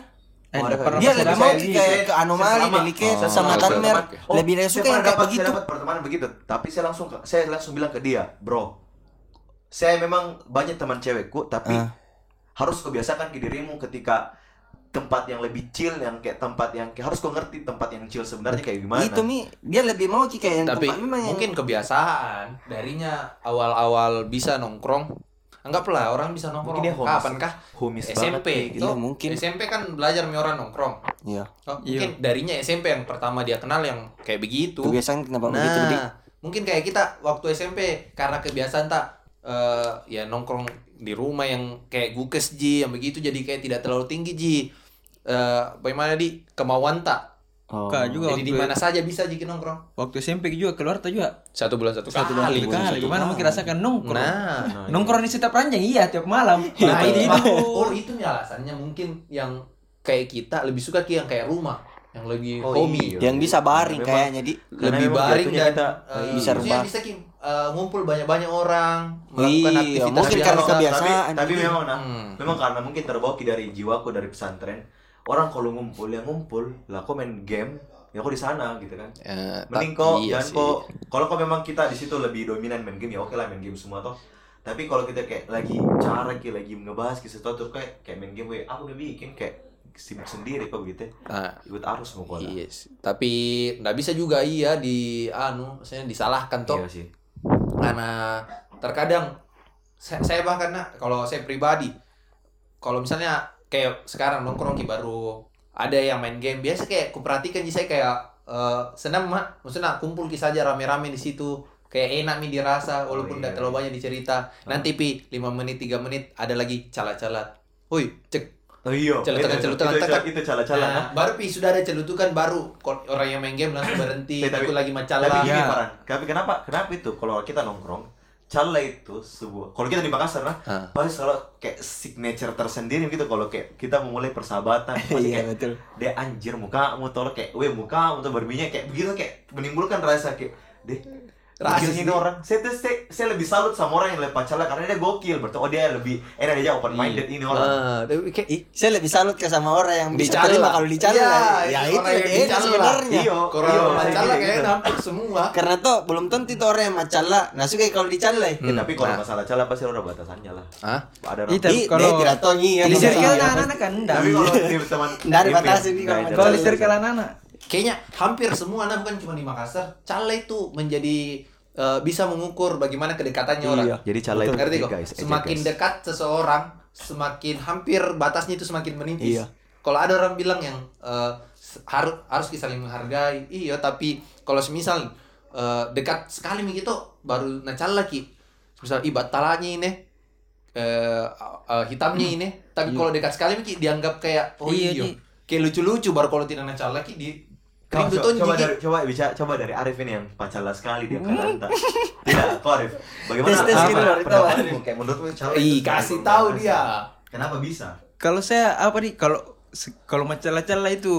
[SPEAKER 3] Eh,
[SPEAKER 4] Oh,
[SPEAKER 3] nggak
[SPEAKER 4] ada
[SPEAKER 3] pernah
[SPEAKER 2] Dia
[SPEAKER 4] kayak-
[SPEAKER 3] saya
[SPEAKER 2] lebih
[SPEAKER 3] dapat
[SPEAKER 2] mau
[SPEAKER 3] lagi.
[SPEAKER 4] Saya-
[SPEAKER 2] kayak
[SPEAKER 4] saya-
[SPEAKER 2] ke anomali,
[SPEAKER 4] gitu ya? saya
[SPEAKER 2] delike,
[SPEAKER 1] Oh,
[SPEAKER 2] sama
[SPEAKER 1] saya
[SPEAKER 2] Tanmer.
[SPEAKER 4] pernah dapat- Oh,
[SPEAKER 2] Lebih dari
[SPEAKER 4] saya
[SPEAKER 2] suka yang
[SPEAKER 4] pernah
[SPEAKER 2] kayak
[SPEAKER 4] dapat-
[SPEAKER 2] begitu.
[SPEAKER 4] Saya dapat pertemanan begitu, tapi saya langsung ke- saya langsung bilang ke dia, bro, saya memang banyak teman cewekku, tapi
[SPEAKER 2] Ah.
[SPEAKER 4] harus kebiasakan ke dirimu ketika tempat yang lebih chill, yang kayak tempat yang kayak harus kau ngerti tempat yang chill sebenarnya kayak gimana.
[SPEAKER 2] Itu Gitu, Mi, dia lebih mau Ki, kayak yang
[SPEAKER 1] Tapi
[SPEAKER 2] tempat memang yang-
[SPEAKER 1] mungkin kebiasaan darinya awal-awal bisa nongkrong anggaplah orang bisa nongkrong
[SPEAKER 4] Mungkin dia homies-
[SPEAKER 1] kapan kah
[SPEAKER 4] homies banget nih,
[SPEAKER 1] SMP
[SPEAKER 2] gitu. Iya, mungkin.
[SPEAKER 1] SMP kan belajar nih orang nongkrong
[SPEAKER 2] Iya.
[SPEAKER 1] Oh, mungkin darinya SMP yang pertama dia kenal yang kayak begitu
[SPEAKER 2] Kebiasaan kenapa
[SPEAKER 1] nah
[SPEAKER 2] begitu, Dik?
[SPEAKER 1] mungkin kayak kita waktu SMP karena kebiasaan tak eh, ya nongkrong di rumah yang kayak gukes ji yang begitu jadi kayak tidak terlalu tinggi ji Eh, bagaimana di kemauan tak
[SPEAKER 2] Oh.
[SPEAKER 3] Kak juga
[SPEAKER 1] jadi di
[SPEAKER 3] waktu,
[SPEAKER 1] mana saja bisa jadi nongkrong
[SPEAKER 3] waktu SMP juga keluar tuh juga
[SPEAKER 1] satu bulan satu,
[SPEAKER 3] kali kali gimana mungkin rasakan kan nongkrong
[SPEAKER 1] nah
[SPEAKER 3] nongkrong di setiap ranjang iya tiap malam
[SPEAKER 1] Nah,
[SPEAKER 3] Nah,
[SPEAKER 1] itu,
[SPEAKER 3] ini itu
[SPEAKER 1] oh itu nih alasannya mungkin yang kayak kita lebih suka ki yang kayak rumah, yang lebih
[SPEAKER 4] Oh,
[SPEAKER 1] homi,
[SPEAKER 4] iya.
[SPEAKER 2] Yang bisa baring
[SPEAKER 4] Memang-
[SPEAKER 2] kayaknya, Di.
[SPEAKER 4] Karena
[SPEAKER 1] lebih
[SPEAKER 4] memang
[SPEAKER 1] baring
[SPEAKER 4] jatuhnya
[SPEAKER 1] dan
[SPEAKER 4] kita,
[SPEAKER 1] eh,
[SPEAKER 2] bisa
[SPEAKER 1] maksudnya
[SPEAKER 2] rebah.
[SPEAKER 1] bisa ki eh, ngumpul banyak-banyak orang, melakukan
[SPEAKER 2] Iya,
[SPEAKER 1] aktivitas
[SPEAKER 2] mungkin
[SPEAKER 1] biasa.
[SPEAKER 2] karena kebiasaan.
[SPEAKER 4] tapi, tapi
[SPEAKER 2] Iya.
[SPEAKER 4] memang nah
[SPEAKER 1] Hmm.
[SPEAKER 4] memang karena mungkin terbawa dari jiwaku dari pesantren orang kalau ngumpul ya ngumpul lah kok main game ya kok di sana gitu kan
[SPEAKER 1] Eh,
[SPEAKER 4] mending
[SPEAKER 1] tak-
[SPEAKER 4] kok
[SPEAKER 1] iya
[SPEAKER 4] jangan
[SPEAKER 1] sih.
[SPEAKER 4] kok kalau kok memang kita di situ lebih dominan main game ya oke lah main game semua toh tapi kalau kita kayak lagi cara kayak lagi ngebahas ke sesuatu kayak kayak main game kayak aku udah bikin kayak sibuk sendiri kok gitu
[SPEAKER 1] Nah,
[SPEAKER 4] ikut arus mau kok
[SPEAKER 1] iya sih. Tapi nggak bisa juga iya di anu, saya disalahkan toh
[SPEAKER 4] iya sih
[SPEAKER 1] karena terkadang saya, saya bahkan Nak, kalau saya pribadi kalau misalnya kayak sekarang nongkrong ki baru ada yang main game biasa kayak kuperhatikan sih saya kayak eh, senang mak maksudnya kumpul ki saja rame-rame di situ kayak enak mi dirasa walaupun
[SPEAKER 4] Oh, iya.
[SPEAKER 1] tidak terlalu banyak dicerita nanti pi 5 menit 3 menit ada lagi calat-calat Woi, cek.
[SPEAKER 4] oh iya
[SPEAKER 1] Celutukan,
[SPEAKER 4] Itu-
[SPEAKER 1] celutukan,
[SPEAKER 4] itu-
[SPEAKER 1] tekak.
[SPEAKER 4] itu cala-cala kan?
[SPEAKER 1] Nah, baru pi sudah ada celutukan baru kol- orang yang main game langsung berhenti,
[SPEAKER 4] Tapi-
[SPEAKER 1] itu lagi
[SPEAKER 4] Tapi
[SPEAKER 1] macalah.
[SPEAKER 4] gini
[SPEAKER 3] Ya.
[SPEAKER 4] Farhan, tapi kenapa kenapa itu kalau kita nongkrong cala itu sebuah kalau kita di Makassar nah
[SPEAKER 1] Ah.
[SPEAKER 4] pasti selalu kayak signature tersendiri gitu kalau kayak kita memulai persahabatan pasti
[SPEAKER 2] Iya,
[SPEAKER 4] kayak
[SPEAKER 2] betul.
[SPEAKER 4] deh anjir mukamu tolong kayak weh mukamu tuh berminyak kayak begitu kayak menimbulkan rasa kayak deh
[SPEAKER 1] Rasis nih.
[SPEAKER 4] Rasis orang. Saya, tuh- saya, saya lebih salut sama orang yang lepas cala karena dia gokil. Berarti oh dia lebih enak aja open minded ini orang. Iya,
[SPEAKER 1] Ah, tapi kayak "Ih,
[SPEAKER 2] Saya lebih salut ke sama orang yang bisa
[SPEAKER 1] Dicala.
[SPEAKER 2] terima kalau
[SPEAKER 1] Iya,
[SPEAKER 2] dicala. ya
[SPEAKER 1] itu
[SPEAKER 2] itu
[SPEAKER 1] orang yang
[SPEAKER 2] lebih enak
[SPEAKER 1] dicala.
[SPEAKER 2] sebenarnya.
[SPEAKER 4] Iya,
[SPEAKER 1] Kurang
[SPEAKER 4] iya,
[SPEAKER 1] macalah
[SPEAKER 4] kayak gitu.
[SPEAKER 1] kayaknya nampuk semua.
[SPEAKER 2] Karena tuh belum tentu itu orang yang macala. Nah, suka kalau dicala.
[SPEAKER 3] Hmm.
[SPEAKER 2] ya.
[SPEAKER 4] Ya, tapi kalau
[SPEAKER 1] nah.
[SPEAKER 4] masalah cala pasti ada batasannya lah.
[SPEAKER 1] Hah?
[SPEAKER 4] Ada
[SPEAKER 3] Iya,
[SPEAKER 2] Di,
[SPEAKER 3] Kalau-
[SPEAKER 2] dia tidak tahu iya.
[SPEAKER 3] di
[SPEAKER 2] Iya.
[SPEAKER 3] circle anak-anak kan enggak
[SPEAKER 4] Tapi kalau di teman
[SPEAKER 2] Nggak ada batasan nih kalau
[SPEAKER 4] nggak ada
[SPEAKER 3] kalau di
[SPEAKER 4] batasan.
[SPEAKER 3] circle anak-anak
[SPEAKER 1] Kayaknya hampir semua anak bukan cuma di Makassar, cale itu menjadi eh, bisa mengukur bagaimana kedekatannya orang.
[SPEAKER 4] Iya, Jadi cala itu
[SPEAKER 1] Ngerti
[SPEAKER 4] etik,
[SPEAKER 1] kok?
[SPEAKER 4] guys, etik,
[SPEAKER 1] Semakin
[SPEAKER 4] guys.
[SPEAKER 1] dekat seseorang, semakin hampir batasnya itu semakin menipis.
[SPEAKER 2] Iya.
[SPEAKER 1] Kalau ada orang bilang yang eh, s- harus harus kita saling menghargai, iya. Tapi kalau semisal eh, dekat sekali begitu, baru nacal lagi. Misal ibat talanya ini, eh, eh, hitamnya ini. Tapi kalau dekat sekali mungkin dianggap kayak oh
[SPEAKER 3] Iya,
[SPEAKER 1] iya,
[SPEAKER 3] Ki.
[SPEAKER 1] kayak lucu-lucu. Baru kalau tidak nacal lagi di
[SPEAKER 4] Kau,
[SPEAKER 1] Rindu
[SPEAKER 4] co-
[SPEAKER 1] tuh
[SPEAKER 4] coba
[SPEAKER 1] jigit.
[SPEAKER 4] dari coba bicara coba dari Arif ini yang pancala sekali dia kata entah. Tidak, kau Arif. Bagaimana?
[SPEAKER 2] Tes-tes
[SPEAKER 4] apa
[SPEAKER 2] gitu, Arif, tahu,
[SPEAKER 4] pendapatmu? Kayak menurutmu cala itu
[SPEAKER 1] Ih,
[SPEAKER 4] sebagai
[SPEAKER 1] kasih
[SPEAKER 4] pembatas.
[SPEAKER 1] tahu dia.
[SPEAKER 4] Kenapa bisa?
[SPEAKER 3] kalau saya apa nih kalau se- kalau macala-cala itu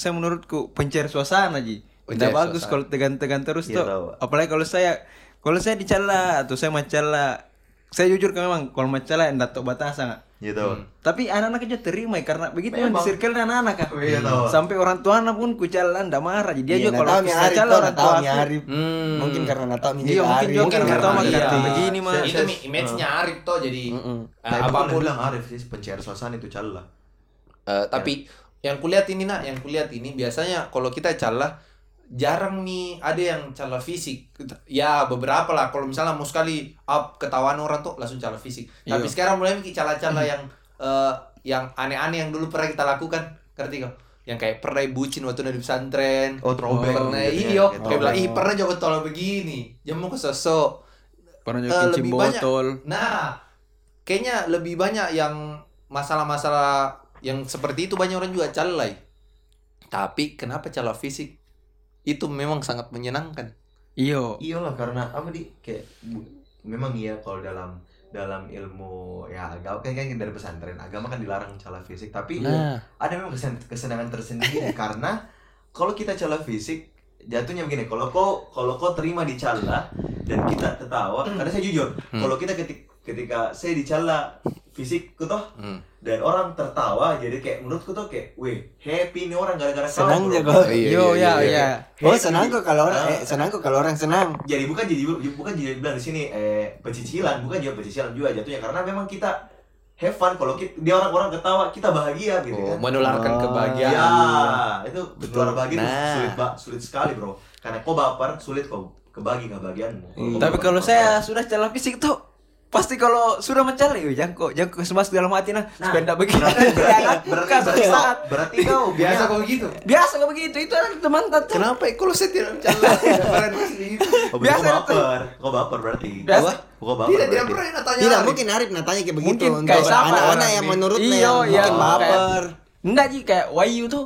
[SPEAKER 3] saya menurutku pencair suasana ji
[SPEAKER 1] Pencair
[SPEAKER 3] tidak bagus
[SPEAKER 1] suasana.
[SPEAKER 3] kalau tegan-tegan terus tuh
[SPEAKER 4] Iya, tahu.
[SPEAKER 3] apalagi kalau saya kalau saya dicela atau saya macala saya jujur kan memang kalau macala enggak tahu batasan Kak.
[SPEAKER 4] Gitu.
[SPEAKER 3] tapi anak-anak aja terima ya, karena begitu yang di
[SPEAKER 4] Memang.
[SPEAKER 3] circle anak-anak kan
[SPEAKER 4] Iya, tahu.
[SPEAKER 3] sampai orang tua anak pun kucalan enggak marah jadi dia
[SPEAKER 2] Iya,
[SPEAKER 3] juga
[SPEAKER 2] nggak
[SPEAKER 3] kalau
[SPEAKER 2] tahu nih
[SPEAKER 3] kita
[SPEAKER 2] Arif,
[SPEAKER 3] cala
[SPEAKER 2] tuh,
[SPEAKER 3] orang
[SPEAKER 2] nggak
[SPEAKER 3] tua
[SPEAKER 2] tahu nih
[SPEAKER 3] aku,
[SPEAKER 2] Arif.
[SPEAKER 1] Hmm.
[SPEAKER 2] Mungkin karena nggak tahu nih
[SPEAKER 3] Iya,
[SPEAKER 2] dia
[SPEAKER 3] mungkin
[SPEAKER 2] Arif.
[SPEAKER 3] juga
[SPEAKER 1] Mungkin
[SPEAKER 3] karena
[SPEAKER 1] karena
[SPEAKER 3] tahu
[SPEAKER 1] iya.
[SPEAKER 3] karena begini mas
[SPEAKER 1] Itu mi- image-nya Arif tuh jadi
[SPEAKER 2] Mm-mm.
[SPEAKER 1] eh,
[SPEAKER 4] Tapi
[SPEAKER 1] apapun
[SPEAKER 4] apapun Nah, kan bilang Arif sih pencair suasana itu cala.
[SPEAKER 1] Eh, tapi
[SPEAKER 4] Ya.
[SPEAKER 1] yang kulihat ini nak, yang kulihat ini biasanya kalau kita calah jarang nih ada yang calah fisik. Ya beberapa lah. Kalau misalnya mau sekali up ketawaan orang tuh langsung calah fisik. Tapi
[SPEAKER 3] Iya.
[SPEAKER 1] sekarang mulai bikin calah-calah
[SPEAKER 4] Hmm.
[SPEAKER 1] yang eh, yang aneh-aneh yang dulu pernah kita lakukan. Ngerti kau? Yang kayak pernah bucin waktu dari pesantren.
[SPEAKER 4] Oh, throwback.
[SPEAKER 1] Pernah
[SPEAKER 4] Iya, iya,
[SPEAKER 1] iyo.
[SPEAKER 4] kayak
[SPEAKER 1] Kayak bilang, ih pernah jago tolong begini. Jangan mau kesosok.
[SPEAKER 3] pernah
[SPEAKER 1] Eh,
[SPEAKER 3] nyokin
[SPEAKER 1] lebih
[SPEAKER 3] botol
[SPEAKER 1] banyak. Nah, kayaknya lebih banyak yang masalah-masalah yang seperti itu banyak orang juga calai. Tapi kenapa cala fisik? Itu memang sangat menyenangkan.
[SPEAKER 3] iyo
[SPEAKER 4] Iya lah karena apa di kayak bu- memang iya kalau dalam dalam ilmu ya agama kan kan dari pesantren agama kan dilarang cala fisik tapi
[SPEAKER 1] Nah. Iya.
[SPEAKER 4] ada memang kesen- kesenangan tersendiri karena kalau kita cala fisik jatuhnya begini kalau kau kalau kau terima dicela dan kita tertawa karena saya jujur
[SPEAKER 2] Hmm.
[SPEAKER 4] kalau kita ketik- ketika saya dicela fisik toh
[SPEAKER 1] Hmm.
[SPEAKER 4] dan orang tertawa jadi kayak menurutku tuh kayak weh happy nih orang gara-gara kau,
[SPEAKER 2] Senang
[SPEAKER 4] bro."
[SPEAKER 2] ya kok.
[SPEAKER 1] Iya,
[SPEAKER 3] yo
[SPEAKER 1] iya, iya,
[SPEAKER 3] ya ya
[SPEAKER 2] Oh,
[SPEAKER 4] Happy.
[SPEAKER 2] senang kok kalau orang
[SPEAKER 4] Ah.
[SPEAKER 3] iya.
[SPEAKER 2] eh senang kok kalau orang senang.
[SPEAKER 4] jadi bukan jadi bukan jadi bilang di sini eh pecicilan bukan juga pecicilan juga jatuhnya karena memang kita have fun kalau kita dia orang-orang ketawa kita bahagia gitu
[SPEAKER 1] Oh,
[SPEAKER 4] kan
[SPEAKER 1] menularkan
[SPEAKER 2] Oh,
[SPEAKER 4] ya,
[SPEAKER 1] kebahagiaan.
[SPEAKER 4] itu luar bahagia itu
[SPEAKER 1] Nah.
[SPEAKER 4] sulit ba- sulit sekali bro karena kau baper sulit kau kebagi kebahagiaanmu
[SPEAKER 2] Iya.
[SPEAKER 4] kau
[SPEAKER 3] tapi
[SPEAKER 4] baper,
[SPEAKER 3] kalau
[SPEAKER 4] kau
[SPEAKER 3] saya sudah cela fisik tuh pasti kalau sudah mencari ya jangkau jangkau semas dalam hati nah
[SPEAKER 4] Nah,
[SPEAKER 3] supaya tidak begitu
[SPEAKER 4] berarti
[SPEAKER 3] Jangan,
[SPEAKER 4] berarti
[SPEAKER 3] Iya kan? bukan,
[SPEAKER 4] berarti
[SPEAKER 3] suatu
[SPEAKER 4] kau
[SPEAKER 3] saat.
[SPEAKER 4] berarti kau
[SPEAKER 1] biasa
[SPEAKER 4] punya-
[SPEAKER 1] kok gitu. begitu
[SPEAKER 3] biasa nggak begitu itu ada teman tante
[SPEAKER 1] Nah, kenapa ya kalau saya tidak mencalon kemarin
[SPEAKER 4] Oh, berarti
[SPEAKER 3] Biasa
[SPEAKER 4] kau
[SPEAKER 3] tuh.
[SPEAKER 4] baper kau baper berarti
[SPEAKER 3] Biasa.
[SPEAKER 4] kau baper
[SPEAKER 1] tidak tidak
[SPEAKER 4] berarti.
[SPEAKER 1] pernah tanya
[SPEAKER 5] Tidak
[SPEAKER 1] Arif.
[SPEAKER 5] mungkin Arif nanya kayak begitu
[SPEAKER 3] Iya. Mungkin
[SPEAKER 5] gitu untuk
[SPEAKER 3] kayak siapa
[SPEAKER 5] anak-anak
[SPEAKER 1] orang,
[SPEAKER 5] yang
[SPEAKER 1] Bin?
[SPEAKER 5] menurutnya
[SPEAKER 3] Iyo,
[SPEAKER 5] yang
[SPEAKER 3] iya,
[SPEAKER 5] mungkin baper. Ah.
[SPEAKER 3] Enggak sih kayak Wayu tuh.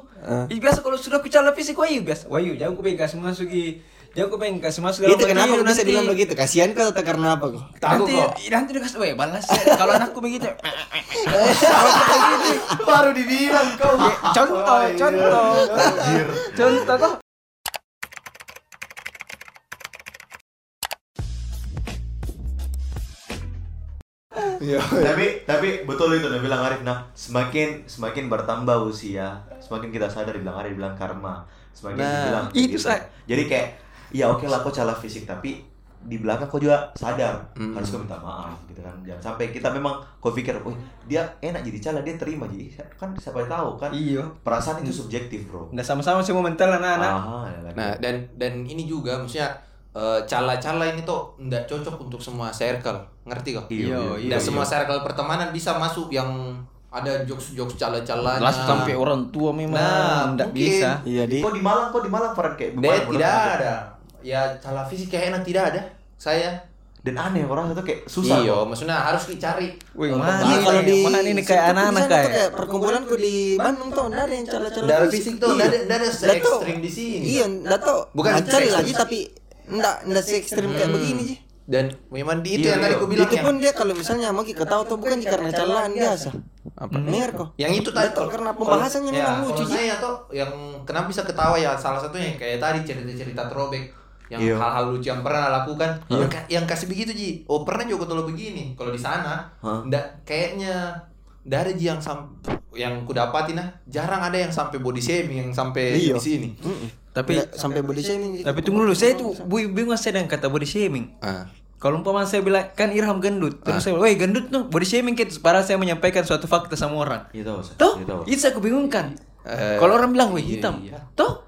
[SPEAKER 3] Ih, biasa kalau sudah ku calon fisik Wayu biasa. Wayu jangan ku pengen kasih masuk i. Jangan ku pengen kasih masuk dalam
[SPEAKER 5] Itu
[SPEAKER 3] hati,
[SPEAKER 5] kenapa
[SPEAKER 3] yuk,
[SPEAKER 5] lu bisa
[SPEAKER 3] nanti-
[SPEAKER 5] bilang begitu? Kasihan kau atau karena apa kok?
[SPEAKER 1] Takut
[SPEAKER 3] nanti,
[SPEAKER 1] kok.
[SPEAKER 3] nanti dikasih, weh balas ya. Kalau anakku begitu,
[SPEAKER 1] baru dibilang kau
[SPEAKER 3] Iya, contoh, contoh, contoh kok.
[SPEAKER 4] tapi tapi betul itu udah bilang Arif nah semakin semakin bertambah usia semakin kita sadar dibilang Arif bilang karma semakin
[SPEAKER 3] Nah,
[SPEAKER 4] dibilang kayak
[SPEAKER 3] itu saya-
[SPEAKER 4] jadi kayak ya oke lah kau salah fisik tapi di belakang kau juga sadar harus kau minta maaf gitu kan jangan sampai kita memang kau pikir wih dia enak jadi cala dia terima jadi kan siapa tahu kan
[SPEAKER 3] Iya.
[SPEAKER 4] perasaan itu subjektif bro
[SPEAKER 3] Nah sama-sama semua mental anak-anak.
[SPEAKER 4] ah, ya lagi.
[SPEAKER 1] Nah, dan dan ini juga maksudnya eh, cala-cala ini tuh nggak cocok untuk semua circle. Ngerti kok?
[SPEAKER 4] Iya,
[SPEAKER 3] Iya, iya,
[SPEAKER 1] Dan
[SPEAKER 3] iya.
[SPEAKER 1] semua circle pertemanan bisa masuk yang ada jokes-jokes cala-calanya.
[SPEAKER 3] Langsung Ah. sampai orang tua memang
[SPEAKER 1] Nah, mungkin.
[SPEAKER 3] nggak bisa.
[SPEAKER 5] Iya, di.
[SPEAKER 4] kau di Malang kau di Malang Farhan kayak gitu.
[SPEAKER 1] Dia
[SPEAKER 4] beban,
[SPEAKER 1] Nah, tidak
[SPEAKER 4] beban.
[SPEAKER 1] ada. Ya cala fisik kayak enak tidak ada. Saya.
[SPEAKER 4] dan aneh orang itu kayak susah
[SPEAKER 1] Iya,
[SPEAKER 4] kok.
[SPEAKER 1] maksudnya harus dicari. eh,
[SPEAKER 3] Wih, mana
[SPEAKER 1] pembahasan
[SPEAKER 3] nih kalau
[SPEAKER 1] yang-
[SPEAKER 3] di- Iya, Mana ini kayak
[SPEAKER 5] Sentuh
[SPEAKER 3] anak-anak
[SPEAKER 5] di sana tuh
[SPEAKER 3] kayak.
[SPEAKER 5] perkumpulanku di Bandung tuh nggak ada yang cara-cara Iya.
[SPEAKER 1] Dari fisik
[SPEAKER 2] Iya.
[SPEAKER 1] tuh, nggak ada- nggak ada
[SPEAKER 5] Nggak tahu.
[SPEAKER 1] se-ekstrim di sini.
[SPEAKER 5] Iya, enggak tahu.
[SPEAKER 1] Bukan
[SPEAKER 5] Bukan cari
[SPEAKER 1] se-ekstrim.
[SPEAKER 5] lagi tapi enggak enggak se ekstrim kayak begini sih.
[SPEAKER 1] Hmm. Dan memang di itu
[SPEAKER 4] Iya,
[SPEAKER 1] yang tadi
[SPEAKER 4] iya.
[SPEAKER 1] aku bilang ya.
[SPEAKER 5] Itu
[SPEAKER 1] yang,
[SPEAKER 5] pun dia kalau misalnya mau kita tahu tuh bukan karena calaan biasa. Apa? Mer kok.
[SPEAKER 1] yang itu tadi
[SPEAKER 5] Betul,
[SPEAKER 1] tuh.
[SPEAKER 5] karena
[SPEAKER 1] Kalau-
[SPEAKER 5] pembahasannya memang
[SPEAKER 1] ya,
[SPEAKER 5] lucu
[SPEAKER 1] kalau
[SPEAKER 5] sih.
[SPEAKER 1] saya tuh yang kenapa bisa ketawa ya salah satunya yang kayak tadi cerita-cerita throwback yang
[SPEAKER 4] Iya.
[SPEAKER 1] hal-hal lucu yang pernah lakukan yang, ka- yang kasih begitu Ji oh pernah juga kalau begini kalau di sana
[SPEAKER 4] Hah?
[SPEAKER 1] ndak kayaknya ndak ada Ji yang sam yang kudapatin nah jarang ada yang sampai body shaming yang sampai di
[SPEAKER 5] Iya.
[SPEAKER 1] sini
[SPEAKER 3] Tapi
[SPEAKER 5] Nggak sampai body shaming. sih.
[SPEAKER 3] tapi tunggu dulu, saya tuh bu- bingung saya dengan kata body shaming. Kalau umpama saya bilang kan Irham gendut, terus saya bilang, "Woi, gendut tuh body shaming gitu." Padahal saya menyampaikan suatu fakta sama orang.
[SPEAKER 4] Iya tahu, Ustaz.
[SPEAKER 3] Toh,
[SPEAKER 4] Iya tahu.
[SPEAKER 3] itu saya kebingungkan.
[SPEAKER 1] Eh,
[SPEAKER 3] Kalau orang bilang, "Woi,
[SPEAKER 1] iya,
[SPEAKER 3] hitam."
[SPEAKER 1] iya.
[SPEAKER 3] Toh,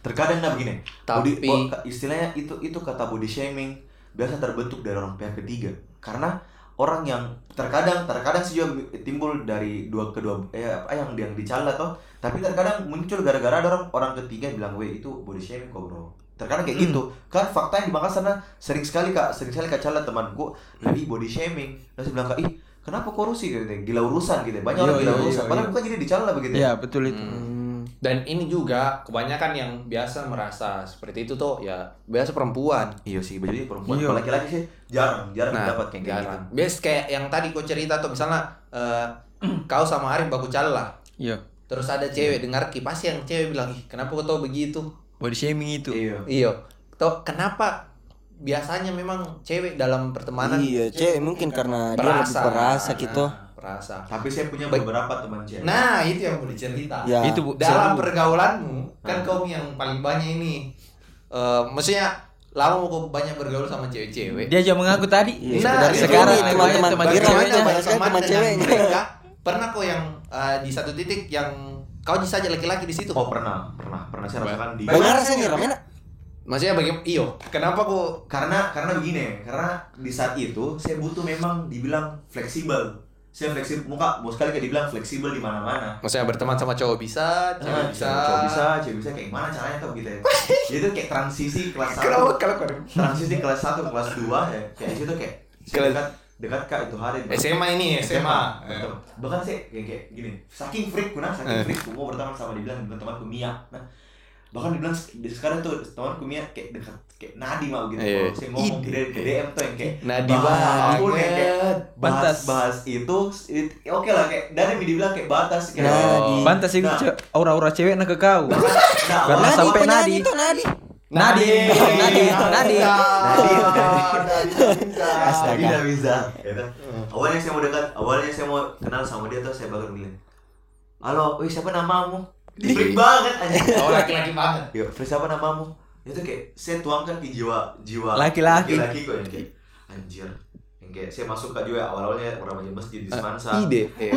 [SPEAKER 4] Terkadang nah begini,
[SPEAKER 1] Tapi-
[SPEAKER 4] body- bo- istilahnya itu itu kata body shaming biasa terbentuk dari orang pihak ketiga karena orang yang terkadang terkadang sih juga timbul dari dua kedua eh apa yang yang dicela toh tapi terkadang muncul gara-gara ada orang orang ketiga yang bilang weh itu body shaming kok bro terkadang
[SPEAKER 3] Hmm.
[SPEAKER 4] kayak gitu kan fakta yang di Makassar nah, sering sekali kak sering sekali kak cala temanku dari body shaming terus dia bilang kak ih kenapa korupsi gitu gila urusan gitu banyak orang
[SPEAKER 3] Iya,
[SPEAKER 4] gila
[SPEAKER 3] iya,
[SPEAKER 4] urusan
[SPEAKER 3] iya,
[SPEAKER 4] padahal
[SPEAKER 3] iya.
[SPEAKER 4] bukan jadi dicela begitu
[SPEAKER 3] ya betul itu.
[SPEAKER 1] dan ini juga kebanyakan yang biasa merasa seperti itu tuh ya biasa perempuan
[SPEAKER 4] Iya sih, bajunya perempuan.
[SPEAKER 3] Iya.
[SPEAKER 4] Kalau laki-laki sih jarang, jarang dapat kayak gitu.
[SPEAKER 1] Nah, jarang. Bias kayak yang tadi kau cerita tuh misalnya eh, kau sama Arif baku cala
[SPEAKER 3] Iya.
[SPEAKER 1] terus ada cewek dengar ki pasti yang cewek bilang ih kenapa kau tahu begitu
[SPEAKER 3] Body shaming itu.
[SPEAKER 4] Iya.
[SPEAKER 1] iyo toh kenapa biasanya memang cewek dalam pertemanan
[SPEAKER 5] Iya, cewek mungkin karena dia lebih
[SPEAKER 1] perasa
[SPEAKER 5] perasa
[SPEAKER 1] Nah,
[SPEAKER 5] gitu.
[SPEAKER 1] perasa
[SPEAKER 4] Tapi saya punya
[SPEAKER 1] Baik.
[SPEAKER 4] beberapa teman cewek.
[SPEAKER 1] nah itu yang boleh cerita
[SPEAKER 5] Ya. Nah.
[SPEAKER 3] Itu bu,
[SPEAKER 1] dalam
[SPEAKER 3] seru.
[SPEAKER 1] pergaulanmu kan kau yang paling banyak ini Eh, maksudnya lama mau kau banyak bergaul sama cewek-cewek
[SPEAKER 3] dia aja mengaku tadi.
[SPEAKER 5] Iya,
[SPEAKER 1] Nah,
[SPEAKER 3] Sekedar-
[SPEAKER 1] itu
[SPEAKER 3] sekarang
[SPEAKER 1] dia,
[SPEAKER 3] teman
[SPEAKER 5] teman-teman
[SPEAKER 3] teman
[SPEAKER 5] kita.
[SPEAKER 3] ceweknya.
[SPEAKER 5] Banyak
[SPEAKER 1] banyak
[SPEAKER 5] sekali
[SPEAKER 1] teman
[SPEAKER 5] teman
[SPEAKER 1] dengan
[SPEAKER 5] ceweknya.
[SPEAKER 1] mereka. Pernah kok yang eh, di satu titik yang kau saja laki-laki di situ.
[SPEAKER 4] Oh pernah, pernah, pernah saya rasakan di.
[SPEAKER 5] Banyak rasanya Iya, Ram, enak.
[SPEAKER 1] Maksudnya bagaimana? Iyo, kenapa kok
[SPEAKER 4] Karena karena begini, karena di saat itu saya butuh memang dibilang fleksibel. Saya fleksibel, muka mau sekali kayak dibilang fleksibel di mana-mana.
[SPEAKER 1] maksudnya berteman sama cowok bisa, cewek
[SPEAKER 4] Ah,
[SPEAKER 1] bisa.
[SPEAKER 4] cowok bisa, cewek bisa kayak gimana caranya tuh gitu ya. Jadi itu kayak transisi kelas
[SPEAKER 1] Kenapa
[SPEAKER 4] 1
[SPEAKER 1] kalau
[SPEAKER 4] transisi kelas 1 kelas 2 ya. Kayak itu kayak saya
[SPEAKER 1] Kelas- Eh,
[SPEAKER 4] dekat dekat kak itu hari
[SPEAKER 1] SMA ini, SMA.
[SPEAKER 4] Betul. Bahkan sih kayak, kayak gini, saking freak nah, saking freak mau berteman sama dibilang dengan temanku Mia. Nah, bahkan dibilang di sekarang tuh temanku Mia kayak dekat kayak Nadi mau gitu.
[SPEAKER 1] Iya.
[SPEAKER 4] Kalau saya ngomong ke, D- ke DM tuh yang kayak
[SPEAKER 1] Nadi
[SPEAKER 4] ampun, yang kayak
[SPEAKER 1] banget.
[SPEAKER 3] Bantas.
[SPEAKER 4] bahas bahas itu it- ya oke lah kayak dari yang dibilang kayak batas kayak
[SPEAKER 5] Nadi.
[SPEAKER 3] Pantas sih
[SPEAKER 4] Nah,
[SPEAKER 3] ce- aura-aura cewek nak ke kau.
[SPEAKER 4] nah,
[SPEAKER 3] Karena
[SPEAKER 4] awalnya-
[SPEAKER 3] sampai
[SPEAKER 5] penyanyi
[SPEAKER 3] nadi.
[SPEAKER 5] tuh nadi.
[SPEAKER 3] Nadi, nadi, nadi.
[SPEAKER 4] Astaga. Tidak bisa. Ya kan? Awalnya saya mau dekat, awalnya saya mau kenal sama dia tuh saya bakal bilang, halo, wih siapa namamu? Freak banget anjing.
[SPEAKER 1] Oh, laki-laki banget.
[SPEAKER 4] Yo, Fris siapa Iya, namamu? Itu kayak saya tuangkan ke jiwa jiwa
[SPEAKER 3] Laki-laki.
[SPEAKER 4] laki kok yang kayak anjir. Yang kayak saya masuk ke juga awal-awalnya orang banyak masjid di Semansa.
[SPEAKER 1] ide, iya.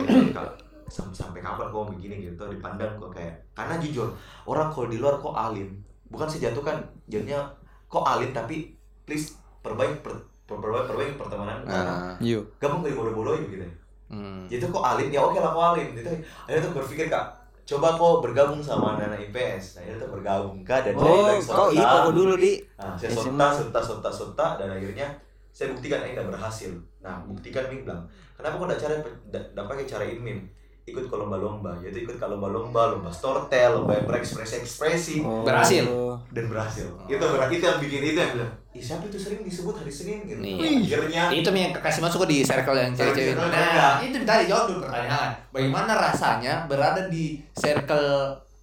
[SPEAKER 4] sampai, sampai kapan kok begini gitu dipandang kok kayak karena jujur orang kalau di luar kok alim bukan saya jatuhkan jadinya kok alim tapi please perbaik per- perbaiki perbaiki pertemanan
[SPEAKER 2] Nah.
[SPEAKER 3] Yo.
[SPEAKER 4] gampang gue bodoh-bodohin gitu
[SPEAKER 2] Hmm.
[SPEAKER 4] jadi kok alim ya oke lah kok alim itu akhirnya tuh berpikir kak coba kok bergabung sama anak-anak IPS Nah, akhirnya tuh bergabung kak dan
[SPEAKER 2] Oh,
[SPEAKER 4] dari
[SPEAKER 2] kau
[SPEAKER 4] Sota.
[SPEAKER 2] IPA kau dulu di.
[SPEAKER 4] Nah, saya
[SPEAKER 2] SMA.
[SPEAKER 4] sonta, sonta, sonta, sonta, dan akhirnya saya buktikan Aing tidak berhasil. Nah, buktikan Ming bilang, kenapa kau tidak cara, tidak pakai cara ini Mim? Ikut ke lomba-lomba, yaitu ikut ke lomba-lomba, lomba storytel, lomba yang berekspresi-ekspresi,
[SPEAKER 2] Oh.
[SPEAKER 1] Berhasil.
[SPEAKER 2] Iya.
[SPEAKER 4] dan berhasil. Itu berarti itu yang bikin itu yang bilang, Ih, siapa itu sering disebut hari Senin gitu.
[SPEAKER 1] Iya.
[SPEAKER 4] Wih, Akhirnya,
[SPEAKER 1] Itu Ming, yang kasih masuk di circle yang cewek-cewek.
[SPEAKER 4] Circle
[SPEAKER 1] Nah,
[SPEAKER 4] mereka.
[SPEAKER 1] itu tadi jawab dulu pertanyaan. Bagaimana rasanya berada di circle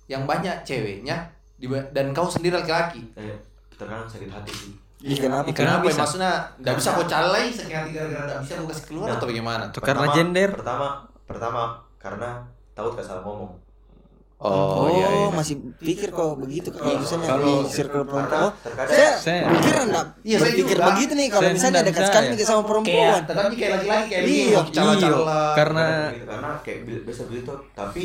[SPEAKER 1] yang banyak ceweknya diba- dan kau sendiri laki-laki?
[SPEAKER 4] eh, terkadang sakit hati sih.
[SPEAKER 2] Ih, kenapa?
[SPEAKER 1] Kenapa?
[SPEAKER 3] bisa?
[SPEAKER 1] Maksudnya nggak bisa kau calai sekian tiga gara nggak bisa kau kasih keluar atau
[SPEAKER 2] Nah.
[SPEAKER 1] bagaimana?
[SPEAKER 3] Tuh,
[SPEAKER 2] kan-
[SPEAKER 3] karena gender.
[SPEAKER 4] Pertama, pertama karena takut gak salah ngomong.
[SPEAKER 2] Oh,
[SPEAKER 1] iya,
[SPEAKER 2] masih pikir kok begitu kalau misalnya di
[SPEAKER 4] Kalau-
[SPEAKER 2] circle
[SPEAKER 4] karena
[SPEAKER 2] perempuan. Oh,
[SPEAKER 4] terkadang-
[SPEAKER 2] saya,
[SPEAKER 3] Saya-
[SPEAKER 2] pikir enggak
[SPEAKER 1] Iya, saya
[SPEAKER 2] berpikir
[SPEAKER 1] juga.
[SPEAKER 2] begitu nih kalau
[SPEAKER 3] Saya
[SPEAKER 2] misalnya
[SPEAKER 3] nggak
[SPEAKER 2] dekat
[SPEAKER 3] percaya.
[SPEAKER 2] sekali nih sama
[SPEAKER 1] Kayak,
[SPEAKER 2] perempuan.
[SPEAKER 1] tetapi kayak laki-laki kayak
[SPEAKER 2] Iya,
[SPEAKER 1] gini, mau
[SPEAKER 3] Iyo.
[SPEAKER 1] calai-calai.
[SPEAKER 3] Karena
[SPEAKER 4] Gitu, karena kayak bil- biasa begitu tapi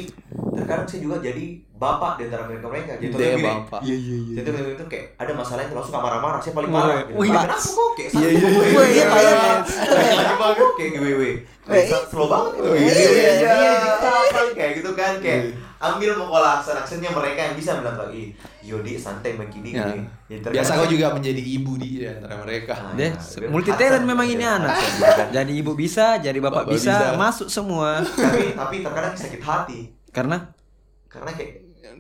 [SPEAKER 4] terkadang saya juga jadi bapak di antara mereka mereka jadi
[SPEAKER 1] Dia
[SPEAKER 4] Gitu, gini
[SPEAKER 1] Gitu bapak.
[SPEAKER 2] Iya iya iya.
[SPEAKER 4] jadi itu, itu kayak ada masalah yang langsung suka marah-marah saya paling marah gitu.
[SPEAKER 2] Wih,
[SPEAKER 4] kenapa kok kayak sakit
[SPEAKER 2] iya,
[SPEAKER 4] gue?
[SPEAKER 2] iya, iya, iya.
[SPEAKER 4] kenapa kok kayak gue gue
[SPEAKER 2] Wih,
[SPEAKER 4] Kayak slow banget gitu.
[SPEAKER 2] iya,
[SPEAKER 4] Iya,
[SPEAKER 2] iya,
[SPEAKER 4] iya,
[SPEAKER 2] iya.
[SPEAKER 4] kita apa, kayak gitu kan kayak ambil pokola aksen-aksennya mereka yang bisa bilang lagi Yodi santai begini
[SPEAKER 2] Iya.
[SPEAKER 1] Ya.
[SPEAKER 4] gini Jadi terkadang
[SPEAKER 1] Biasa kau
[SPEAKER 4] saya-
[SPEAKER 1] juga menjadi ibu di di antara mereka.
[SPEAKER 4] Ah,
[SPEAKER 3] deh
[SPEAKER 4] iya.
[SPEAKER 3] multi talent
[SPEAKER 4] Aksen,
[SPEAKER 3] memang ini
[SPEAKER 4] iya.
[SPEAKER 3] anak.
[SPEAKER 4] Aksen juga kan.
[SPEAKER 3] Jadi ibu bisa, jadi bapak,
[SPEAKER 1] Bapak
[SPEAKER 3] bisa,
[SPEAKER 1] bisa.
[SPEAKER 3] masuk semua.
[SPEAKER 4] tapi tapi terkadang sakit hati
[SPEAKER 3] Karena
[SPEAKER 4] karena kayak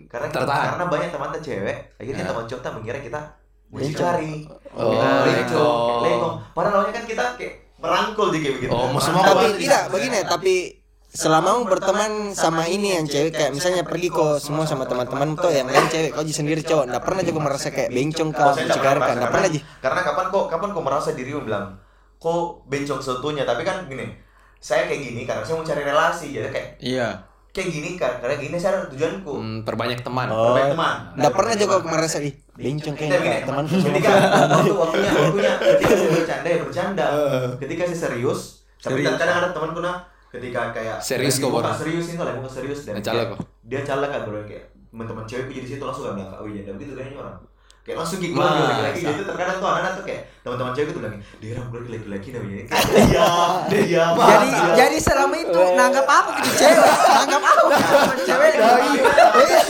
[SPEAKER 4] karena
[SPEAKER 1] Tertahan.
[SPEAKER 4] karena banyak teman teman cewek
[SPEAKER 2] Iya.
[SPEAKER 4] akhirnya
[SPEAKER 1] Ya.
[SPEAKER 4] teman cowok tak mengira kita mucikari
[SPEAKER 1] Oh,
[SPEAKER 2] iya.
[SPEAKER 4] leco
[SPEAKER 1] leco.
[SPEAKER 4] leco padahal awalnya kan kita kayak merangkul jadi kayak begitu
[SPEAKER 1] Oh, mau semua
[SPEAKER 2] Tapi
[SPEAKER 1] Iya.
[SPEAKER 2] tidak begini, tapi selama kamu berteman sama ini yang cewek kayak misalnya pergi kok semua sama teman-teman tuh
[SPEAKER 4] ya.
[SPEAKER 2] yang lain cewek kau aja sendiri cowok enggak pernah juga merasa kayak bencong kau
[SPEAKER 4] Kalau saya tak
[SPEAKER 2] mencekar
[SPEAKER 4] merasa,
[SPEAKER 2] enggak pernah aja.
[SPEAKER 4] karena kapan kok kapan kok merasa dirimu bilang kok bencong satunya tapi kan gini saya kayak gini karena saya mau cari relasi jadi kayak
[SPEAKER 3] iya.
[SPEAKER 4] kayak gini kan karena gini saya ada tujuanku
[SPEAKER 1] Hmm, perbanyak teman.
[SPEAKER 4] Perbaik Nah, teman
[SPEAKER 2] Enggak Oh. pernah juga kau merasa ih bencong kayaknya enggak, temanku semua.
[SPEAKER 4] ketika waktu waktunya waktunya ketika saya bercanda ya bercanda ketika saya serius tapi
[SPEAKER 3] Serius.
[SPEAKER 4] kadang ada temanku nah ketika kayak
[SPEAKER 1] Serius
[SPEAKER 4] lagi
[SPEAKER 1] kok,
[SPEAKER 4] buka
[SPEAKER 1] Bang.
[SPEAKER 4] serius ini lagi buka serius dan
[SPEAKER 1] Nah, calak
[SPEAKER 4] kayak-
[SPEAKER 1] kok.
[SPEAKER 4] dia calak kan bro kayak teman-teman cewekku jadi situ langsung gak bilang oh iya dan begitu kayaknya orang kayak langsung kayak keluar
[SPEAKER 1] Masa.
[SPEAKER 4] lagi jadi tuh terkadang tuh anak-anak tuh kayak teman-teman cewek tuh bilang dia orang gue laki-laki namanya iya iya
[SPEAKER 2] Jadi
[SPEAKER 4] Mas, iya.
[SPEAKER 2] jadi selama itu nanggap apa
[SPEAKER 3] gitu,
[SPEAKER 2] ke cewek? Nanggap apa? Nanggap cewek. Iya iya iya.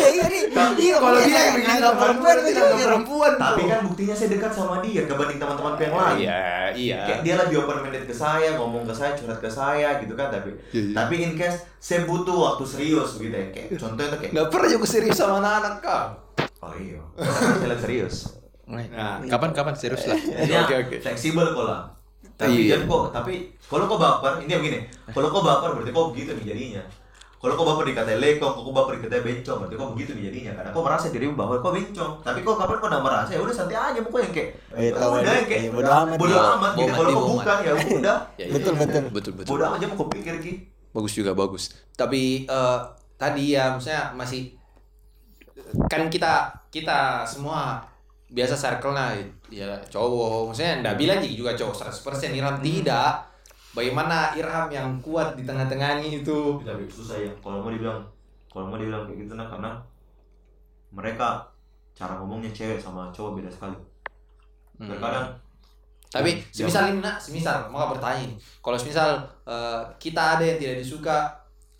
[SPEAKER 2] Iya
[SPEAKER 1] Kalau dia yang
[SPEAKER 2] nanggap perempuan itu juga
[SPEAKER 1] perempuan.
[SPEAKER 4] tapi kan buktinya saya dekat sama dia dibanding teman-temanku yang lain
[SPEAKER 1] Iya, iya.
[SPEAKER 4] Kayak dia lebih open minded ke saya, ngomong ke saya, curhat ke saya gitu kan tapi
[SPEAKER 1] Iya,
[SPEAKER 4] tapi in case saya butuh waktu serius gitu ya. Kayak contohnya tuh kayak
[SPEAKER 1] Nggak pernah juga serius sama anak-anak kau.
[SPEAKER 4] oh iya, saya lihat serius.
[SPEAKER 1] Nah.
[SPEAKER 3] Kapan-kapan serius lah.
[SPEAKER 4] Jadinya
[SPEAKER 1] Oke, oke.
[SPEAKER 4] fleksibel kok lah. Tapi
[SPEAKER 1] Iya.
[SPEAKER 4] kan kok tapi kalau kok baper, ini yang gini. Kalau kok baper berarti kok begitu nih jadinya. Kalau kok baper dikatain lekong, kok baper dikatain bencong, berarti kok begitu nih jadinya. Karena kok merasa dirimu bahwa kok bencong. Tapi kok kapan kok nggak merasa ya udah santai aja pokoknya yang kayak
[SPEAKER 2] Eh, tahu
[SPEAKER 4] udah
[SPEAKER 2] aja.
[SPEAKER 4] yang kayak
[SPEAKER 2] Eh, bodo amat
[SPEAKER 4] bodo
[SPEAKER 2] dia.
[SPEAKER 4] amat gitu.
[SPEAKER 1] Bohongan
[SPEAKER 4] Kalau
[SPEAKER 1] dia,
[SPEAKER 4] kok
[SPEAKER 1] bohongan.
[SPEAKER 4] bukan ya udah.
[SPEAKER 1] Ya,
[SPEAKER 2] Betul,
[SPEAKER 1] iya.
[SPEAKER 2] betul.
[SPEAKER 1] Betul, betul.
[SPEAKER 4] Bodo amat aja mau kepikir Ki.
[SPEAKER 1] Bagus juga, bagus. Tapi eh, tadi ya maksudnya masih kan kita kita semua biasa circle-nya ya cowok maksudnya enggak bilang juga cowok 100% Irham tidak Hmm. bagaimana Irham yang kuat di tengah-tengahnya itu
[SPEAKER 4] tapi susah ya kalau mau dibilang kalau mau dibilang kayak gitu nah karena mereka cara ngomongnya cewek sama cowok beda sekali
[SPEAKER 1] Hmm.
[SPEAKER 4] terkadang
[SPEAKER 1] Tapi semisal ini nak, semisal mau nggak bertanya nih. Kalau semisal eh, kita ada yang tidak disuka,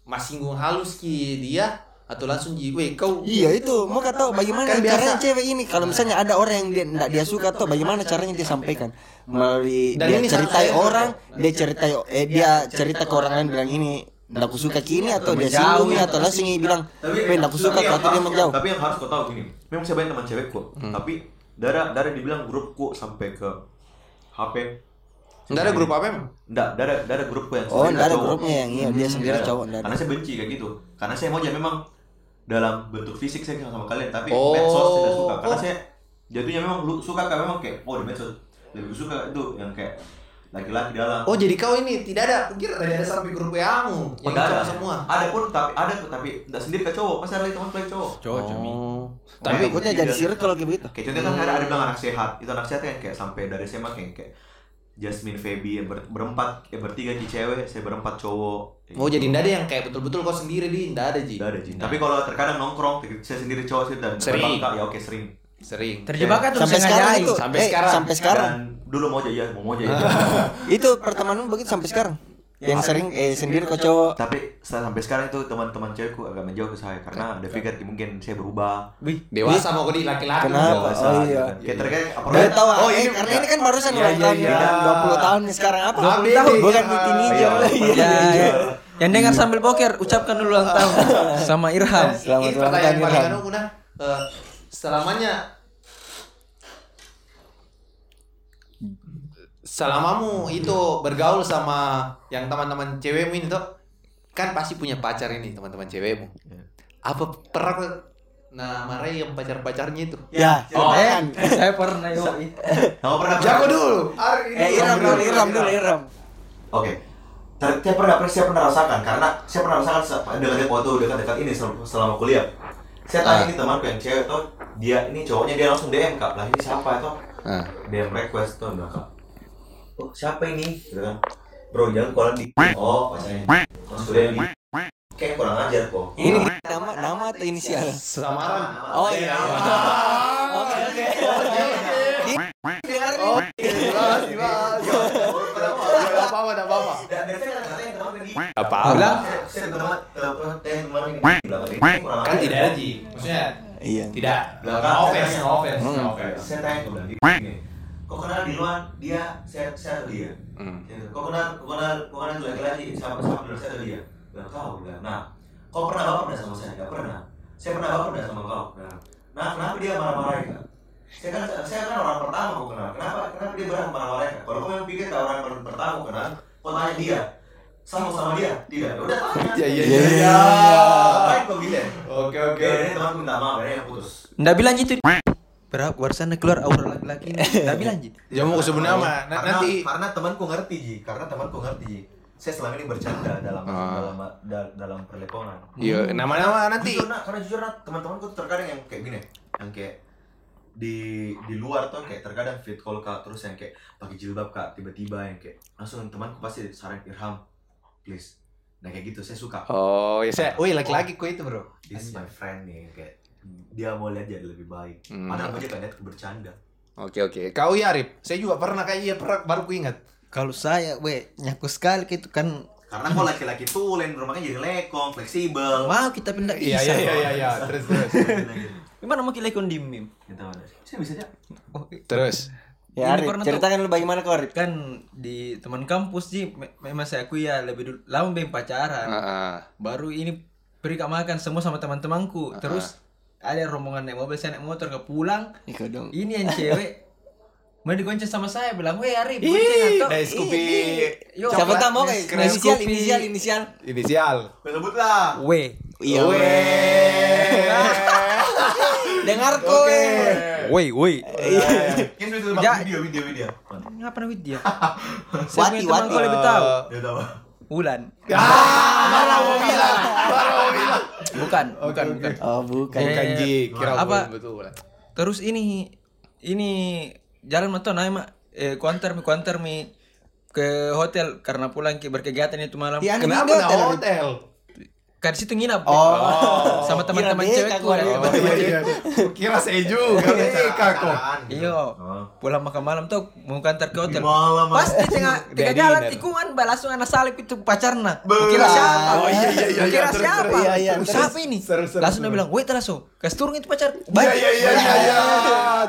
[SPEAKER 1] mas singgung halus ki dia atau langsung ji, weh kau
[SPEAKER 2] Iya itu, mau gak tahu bagaimana
[SPEAKER 1] Kan biasa.
[SPEAKER 2] caranya cewek ini kalau misalnya ada orang yang dia enggak dia suka atau bagaimana caranya dia sampaikan melalui
[SPEAKER 1] Dan
[SPEAKER 2] dia
[SPEAKER 1] ini
[SPEAKER 2] ceritai
[SPEAKER 1] santai.
[SPEAKER 2] orang, dia ceritai eh dia cerita ke orang lain bilang ini enggak aku suka kini atau dia
[SPEAKER 3] Menjauh.
[SPEAKER 2] singgung ini, atau langsung dia bilang "Weh, enggak aku suka
[SPEAKER 4] tapi yang
[SPEAKER 2] atau dia
[SPEAKER 4] harus-
[SPEAKER 2] menjauh.
[SPEAKER 4] tapi yang harus kau tahu gini memang saya banyak teman cewekku
[SPEAKER 1] Hmm.
[SPEAKER 4] tapi darah darah dibilang grupku sampai ke HP
[SPEAKER 1] nggak ada grup apa emang?
[SPEAKER 4] Enggak, enggak ada, enggak ada grupku yang
[SPEAKER 2] Oh, enggak ada
[SPEAKER 4] cowok.
[SPEAKER 2] grupnya yang iya, dia sendiri
[SPEAKER 4] Enggak ada.
[SPEAKER 2] cowok enggak ada.
[SPEAKER 4] Karena saya benci kayak gitu. Karena saya mau aja memang dalam bentuk fisik saya sama, sama kalian, tapi
[SPEAKER 1] Oh.
[SPEAKER 4] medsos tidak suka. Karena saya jatuhnya memang lu suka kan memang kayak oh di medsos lebih suka itu yang kayak laki-laki dalam.
[SPEAKER 1] Oh jadi kau ini tidak ada, kira tadi ada sampai grup WA-mu yang
[SPEAKER 4] Enggak
[SPEAKER 1] cowok
[SPEAKER 4] Oh, ada
[SPEAKER 1] semua.
[SPEAKER 4] Ada pun tapi ada pun, tapi enggak sendiri ke cowok, pasti ada lagi teman play cowok. Oh.
[SPEAKER 3] Cowok Jami.
[SPEAKER 2] Tapi
[SPEAKER 4] Kayak
[SPEAKER 2] ikutnya
[SPEAKER 4] gitu
[SPEAKER 2] jadi
[SPEAKER 4] juga.
[SPEAKER 2] circle kayak begitu.
[SPEAKER 4] Kayak contohnya kan ada, ada bilang anak sehat, itu anak sehat kan kayak sampai dari SMA kayak kayak Jasmine, Feby, ya, ber- berempat, ya bertiga di cewek, saya berempat cowok. Kayak
[SPEAKER 2] Oh,
[SPEAKER 1] Mau
[SPEAKER 4] gitu.
[SPEAKER 1] Oh, jadi nggak ada yang kayak betul-betul kau sendiri di, nggak ada ji. Nah,
[SPEAKER 4] Gak ada Jin. Tapi kalau terkadang nongkrong, saya sendiri cowok sih dan
[SPEAKER 1] Sering.
[SPEAKER 4] terbangka, ya oke sering.
[SPEAKER 1] Sering.
[SPEAKER 3] Terjebak tuh
[SPEAKER 2] Sampai sekarang itu,
[SPEAKER 1] Sampai
[SPEAKER 2] eh,
[SPEAKER 1] sekarang.
[SPEAKER 2] sampai sekarang.
[SPEAKER 4] Dan dulu mau aja iya mau mau aja iya.
[SPEAKER 2] Itu pertemanan begitu sampai sekarang. Yang sering eh sendiri kok cowok.
[SPEAKER 4] tapi sa- sampai sekarang itu teman-teman cewekku agak menjauh ke saya karena dia pikir mungkin saya berubah
[SPEAKER 3] Wih,
[SPEAKER 1] Dewasa mau di laki-laki.
[SPEAKER 2] Kenapa?
[SPEAKER 4] Dewasa,
[SPEAKER 2] Oh
[SPEAKER 4] gitu
[SPEAKER 2] iya.
[SPEAKER 4] kan. kayak terkadang apa
[SPEAKER 2] Udah tahu
[SPEAKER 4] oh
[SPEAKER 2] ah, eh,
[SPEAKER 4] ini
[SPEAKER 2] karena ini kan barusan
[SPEAKER 4] Iya,
[SPEAKER 2] ulang
[SPEAKER 4] iya,
[SPEAKER 2] tahun
[SPEAKER 4] iya.
[SPEAKER 2] kita 20 tahun nih sekarang apa?
[SPEAKER 1] 20 tahun.
[SPEAKER 2] Bukan titin hijau.
[SPEAKER 4] Iya.
[SPEAKER 3] Ya, ya. Yang dengar sambil poker, ucapkan dulu ulang tahun sama Irham.
[SPEAKER 2] Selamat
[SPEAKER 1] Eh, Ini
[SPEAKER 2] ulang
[SPEAKER 1] pertanyaan
[SPEAKER 2] tahun,
[SPEAKER 1] paling
[SPEAKER 2] Ilham.
[SPEAKER 1] anu punah. Eh, selamanya selamamu itu bergaul sama yang teman-teman cewekmu ini tuh kan pasti punya pacar ini teman-teman cewekmu
[SPEAKER 2] Iya.
[SPEAKER 1] apa pernah nah marahin yang pacar-pacarnya itu
[SPEAKER 2] Ya,
[SPEAKER 4] Oh,
[SPEAKER 1] iya.
[SPEAKER 2] eh,
[SPEAKER 3] Saya pernah yoi.
[SPEAKER 4] Kamu pernah
[SPEAKER 1] jago dulu
[SPEAKER 2] eh Iram dulu, Iram dulu, Iram.
[SPEAKER 4] Oke. Ter- Saya pernah, saya pernah rasakan karena saya pernah rasakan se- dekat waktu dekat-dekat ini sel- selama kuliah. Saya tanya
[SPEAKER 1] Ah.
[SPEAKER 4] ini temanku yang cewek tuh, dia ini cowoknya dia langsung DM kak, lah ini siapa ya, itu?
[SPEAKER 1] Ah.
[SPEAKER 4] DM request tuh bilang kak. Oh siapa ini? Gitu kan. Bro jangan kalau di oh pacarnya. Mas kuliah di kayak kurang ajar kok.
[SPEAKER 2] Ini nama nama atau inisial?
[SPEAKER 1] samaran
[SPEAKER 2] Oh iya. Oke, oke.
[SPEAKER 1] Gak apa-apa, gak apa-apa.
[SPEAKER 4] Dan dari saya katanya teman ini.
[SPEAKER 1] Apa?
[SPEAKER 3] Bilang,
[SPEAKER 4] Saya teman teman teman ini bilang "Ini kurang
[SPEAKER 1] Kan
[SPEAKER 4] ajar,
[SPEAKER 1] tidak
[SPEAKER 4] kok."
[SPEAKER 1] ada maksudnya
[SPEAKER 2] Iya.
[SPEAKER 1] tidak.
[SPEAKER 4] Lah,
[SPEAKER 1] No
[SPEAKER 4] kan,
[SPEAKER 1] offense,
[SPEAKER 4] saya-
[SPEAKER 1] no offense, no offense.
[SPEAKER 4] saya tanya ke Belandi gini, kok kenal di luar dia saya saya atau dia Gitu. kok kenal kok kenal kok kenal laki-laki sama sama di luar saya atau dia nggak tahu nggak nah kau pernah baper nggak sama saya nggak pernah saya pernah baper nggak sama kau nah nah kenapa dia marah-marah ya saya kan saya kan orang pertama kau kenal kenapa kenapa dia berani marah-marah ya kalau kau yang pikir kau orang per- pertama kau kenal kau tanya dia sama sama dia tidak Ya udah tanya
[SPEAKER 1] Iya, iya,
[SPEAKER 2] Iya,
[SPEAKER 1] iya.
[SPEAKER 2] iya,
[SPEAKER 1] iya.
[SPEAKER 4] Ngapain kau bilang
[SPEAKER 1] Oke,
[SPEAKER 4] oke
[SPEAKER 1] oke.
[SPEAKER 4] ini temanku minta maaf akhirnya yang putus
[SPEAKER 3] Nggak bilang gitu. Berapa barusan keluar aura laki-laki ini. Nggak bilang gitu.
[SPEAKER 1] Ya mau sebenarnya mah na-
[SPEAKER 4] karena,
[SPEAKER 1] nanti
[SPEAKER 4] karena temanku ngerti Ji, karena temanku ngerti Ji. Saya selama ini bercanda dalam
[SPEAKER 1] Ah.
[SPEAKER 4] dalam da- dalam perlepongan.
[SPEAKER 1] Iya, nama-nama nanti.
[SPEAKER 4] Jujur, Nak, karena jujur Nak, teman-temanku tuh terkadang yang kayak gini, yang kayak di di luar tuh kayak terkadang fit call kak terus yang kayak pakai jilbab kak tiba-tiba yang kayak langsung temanku pasti saran Irham please nah kayak gitu saya suka
[SPEAKER 1] Oh, ya saya. Wih, laki-laki kok itu, Bro.
[SPEAKER 4] this is my friend nih kayak dia mau lihat jadi lebih baik
[SPEAKER 1] Hmm.
[SPEAKER 4] padahal aku aja kan lihat aku bercanda
[SPEAKER 1] Oke, oke. Kau ya, Arif. Saya juga pernah kayak iya, pernah baru ku ingat.
[SPEAKER 3] Kalau saya, we, nyaku sekali gitu kan.
[SPEAKER 4] karena kok laki-laki tulen rumahnya jadi lekong fleksibel
[SPEAKER 3] Mau kita pindah
[SPEAKER 1] Iya, iya, iya, iya, iya. Terus, terus.
[SPEAKER 3] Gimana mau kita ikut dimim?
[SPEAKER 4] Kita mana? Saya bisa aja.
[SPEAKER 1] terus.
[SPEAKER 2] Ya,
[SPEAKER 3] Ini
[SPEAKER 2] Arif,
[SPEAKER 3] pernah tuh.
[SPEAKER 2] ceritakan lu bagaimana kau Arif?
[SPEAKER 3] Kan di teman kampus sih me- memang saya aku ya lebih dulu lama bem pacaran.
[SPEAKER 1] Heeh.
[SPEAKER 3] baru ini beri kak makan semua sama teman-temanku terus ada rombongan naik mobil saya naik motor ke pulang
[SPEAKER 2] Ikut dong.
[SPEAKER 3] ini yang cewek mau digonceng sama saya bilang weh Arif gonceng atau
[SPEAKER 1] Dari Scoopy.
[SPEAKER 3] yo
[SPEAKER 2] Siapa
[SPEAKER 3] coklat,
[SPEAKER 2] tahu mau kayak
[SPEAKER 3] Nescafe,
[SPEAKER 2] inisial,
[SPEAKER 3] Scoopy.
[SPEAKER 2] inisial, inisial.
[SPEAKER 1] Inisial.
[SPEAKER 4] Sebutlah.
[SPEAKER 3] weh
[SPEAKER 2] Iya.
[SPEAKER 1] Nah,
[SPEAKER 2] Dengar kowe.
[SPEAKER 3] weh weh
[SPEAKER 4] Ini sudah tebak
[SPEAKER 3] Ya.
[SPEAKER 4] video video video.
[SPEAKER 3] Iya. ngapa namanya dia
[SPEAKER 2] Wati,
[SPEAKER 3] saya punya teman
[SPEAKER 2] wati. Oh.
[SPEAKER 3] kau
[SPEAKER 1] Eh,
[SPEAKER 3] lebih tahu
[SPEAKER 4] Ya tahu.
[SPEAKER 3] Wulan
[SPEAKER 1] Marah Ah, mau bilang. Marah mau bilang.
[SPEAKER 3] bukan bukan bukan
[SPEAKER 2] Oh, bukan.
[SPEAKER 1] Bukan
[SPEAKER 3] Eh,
[SPEAKER 1] Ji, kira
[SPEAKER 3] apa?
[SPEAKER 1] gua betul.
[SPEAKER 3] terus ini ini jalan motor naik mak eh kuantar mi kuantar mi ke hotel karena pulang ke berkegiatan itu malam
[SPEAKER 2] Iya, anjing
[SPEAKER 1] Kenapa
[SPEAKER 2] dia
[SPEAKER 1] nah
[SPEAKER 2] hotel, Arif?
[SPEAKER 1] hotel?
[SPEAKER 3] kan di situ nginap
[SPEAKER 2] Oh.
[SPEAKER 3] sama teman-teman
[SPEAKER 2] Kira dia
[SPEAKER 3] cewekku
[SPEAKER 2] kagak
[SPEAKER 3] ada
[SPEAKER 2] ada.
[SPEAKER 3] teman-teman
[SPEAKER 1] iya, iya. Kira saya juga. Kira kok. Oh,
[SPEAKER 3] Iyo, Iya. pulang makan malam tuh mau kantor ke hotel.
[SPEAKER 4] Malam.
[SPEAKER 3] Pas di tengah
[SPEAKER 1] Udah
[SPEAKER 3] tengah jalan
[SPEAKER 1] dinner.
[SPEAKER 3] tikungan bah langsung anak salib itu pacarna. Kira siapa?
[SPEAKER 1] Oh, iya, iya, iya,
[SPEAKER 3] Kira
[SPEAKER 1] iya, terus,
[SPEAKER 3] siapa?
[SPEAKER 1] terus, iya, iya,
[SPEAKER 3] Terus
[SPEAKER 1] terus.
[SPEAKER 3] Siapa ini?
[SPEAKER 1] Seru, seru,
[SPEAKER 3] Langsung dia
[SPEAKER 1] seru.
[SPEAKER 3] bilang, "Wait, langsung. Kas turun itu pacar."
[SPEAKER 1] Iya, iya, iya, iya, iya.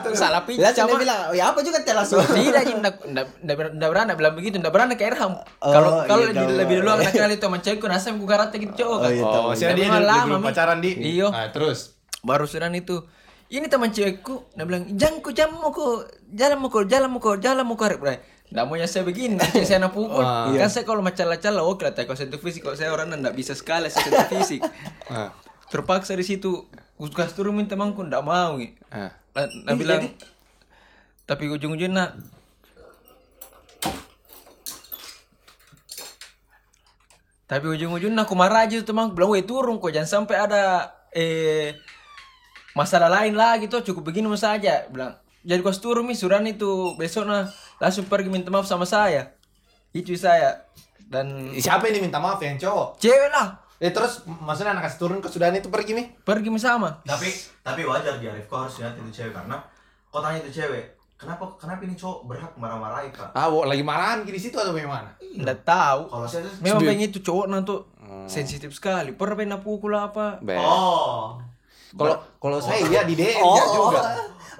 [SPEAKER 1] Terus.
[SPEAKER 3] Salah pijat
[SPEAKER 2] Langsung dia
[SPEAKER 3] sama. Iya,
[SPEAKER 2] bilang, "Oh, ya apa juga teh langsung."
[SPEAKER 3] Tidak, Jin, ndak ndak ndak- ndak berani bilang begitu, ndak berani kayak Erham.
[SPEAKER 2] Oh,
[SPEAKER 3] Kalau
[SPEAKER 2] iya,
[SPEAKER 3] kalau
[SPEAKER 2] ndak
[SPEAKER 3] lebih lebih dulu
[SPEAKER 2] boleh.
[SPEAKER 3] anak kali itu sama cewekku nasa ku karate gitu cowok. kan.
[SPEAKER 2] iya,
[SPEAKER 1] Oh,
[SPEAKER 3] Tapi
[SPEAKER 1] saya dia dia
[SPEAKER 3] memang lama,
[SPEAKER 1] belum
[SPEAKER 3] Mi. Iya.
[SPEAKER 1] pacaran di.
[SPEAKER 3] Iyo.
[SPEAKER 1] Nah, terus.
[SPEAKER 3] baru sedang itu ini teman cewekku dia bilang jangan ku jangan mau ku jalan mau ku jalan mau ku jalan mau ku harap Bray. Nggak mau yang saya begini, nanti saya nak pukul.
[SPEAKER 1] Wah.
[SPEAKER 2] Iya.
[SPEAKER 3] Kan saya kalau macam-macam lah, oke lah, tak sentuh fisik. Kalau saya orang nggak bisa sekali saya sentuh fisik.
[SPEAKER 1] Ah,
[SPEAKER 3] Terpaksa di situ, kuskas turun minta temanku, nggak mau. Ngi.
[SPEAKER 1] ah.
[SPEAKER 3] Lah, Nak Eh, bilang, tapi ujung-ujungnya Tapi ujung-ujungnya aku marah aja tuh teman, aku bilang, weh turun kok, jangan sampai ada eh masalah lain lah gitu, cukup begini saja. Bilang, jadi kau turun mi suran itu besok nah langsung pergi minta maaf sama saya. Itu saya dan
[SPEAKER 1] Siapa ini minta maaf yang cowok?
[SPEAKER 3] cewek lah
[SPEAKER 1] Eh terus maksudnya anak kasih turun ke Sudan itu pergi nih?
[SPEAKER 3] pergi mi sama.
[SPEAKER 4] Tapi tapi wajar di Arif kau harus lihat itu cewek karena kau tanya itu cewek kenapa kenapa ini cowok berhak marah-marahin kak
[SPEAKER 1] Ah, wo, lagi marahan di situ atau bagaimana?
[SPEAKER 3] Nggak tahu.
[SPEAKER 4] kalau saya tuh
[SPEAKER 3] Memang pengen itu cowok nanti sensitif sekali. Pernah pengen pukul apa?
[SPEAKER 5] Be.
[SPEAKER 4] oh
[SPEAKER 1] Kalau kalau saya ya di DM
[SPEAKER 2] Oh,
[SPEAKER 1] ya juga.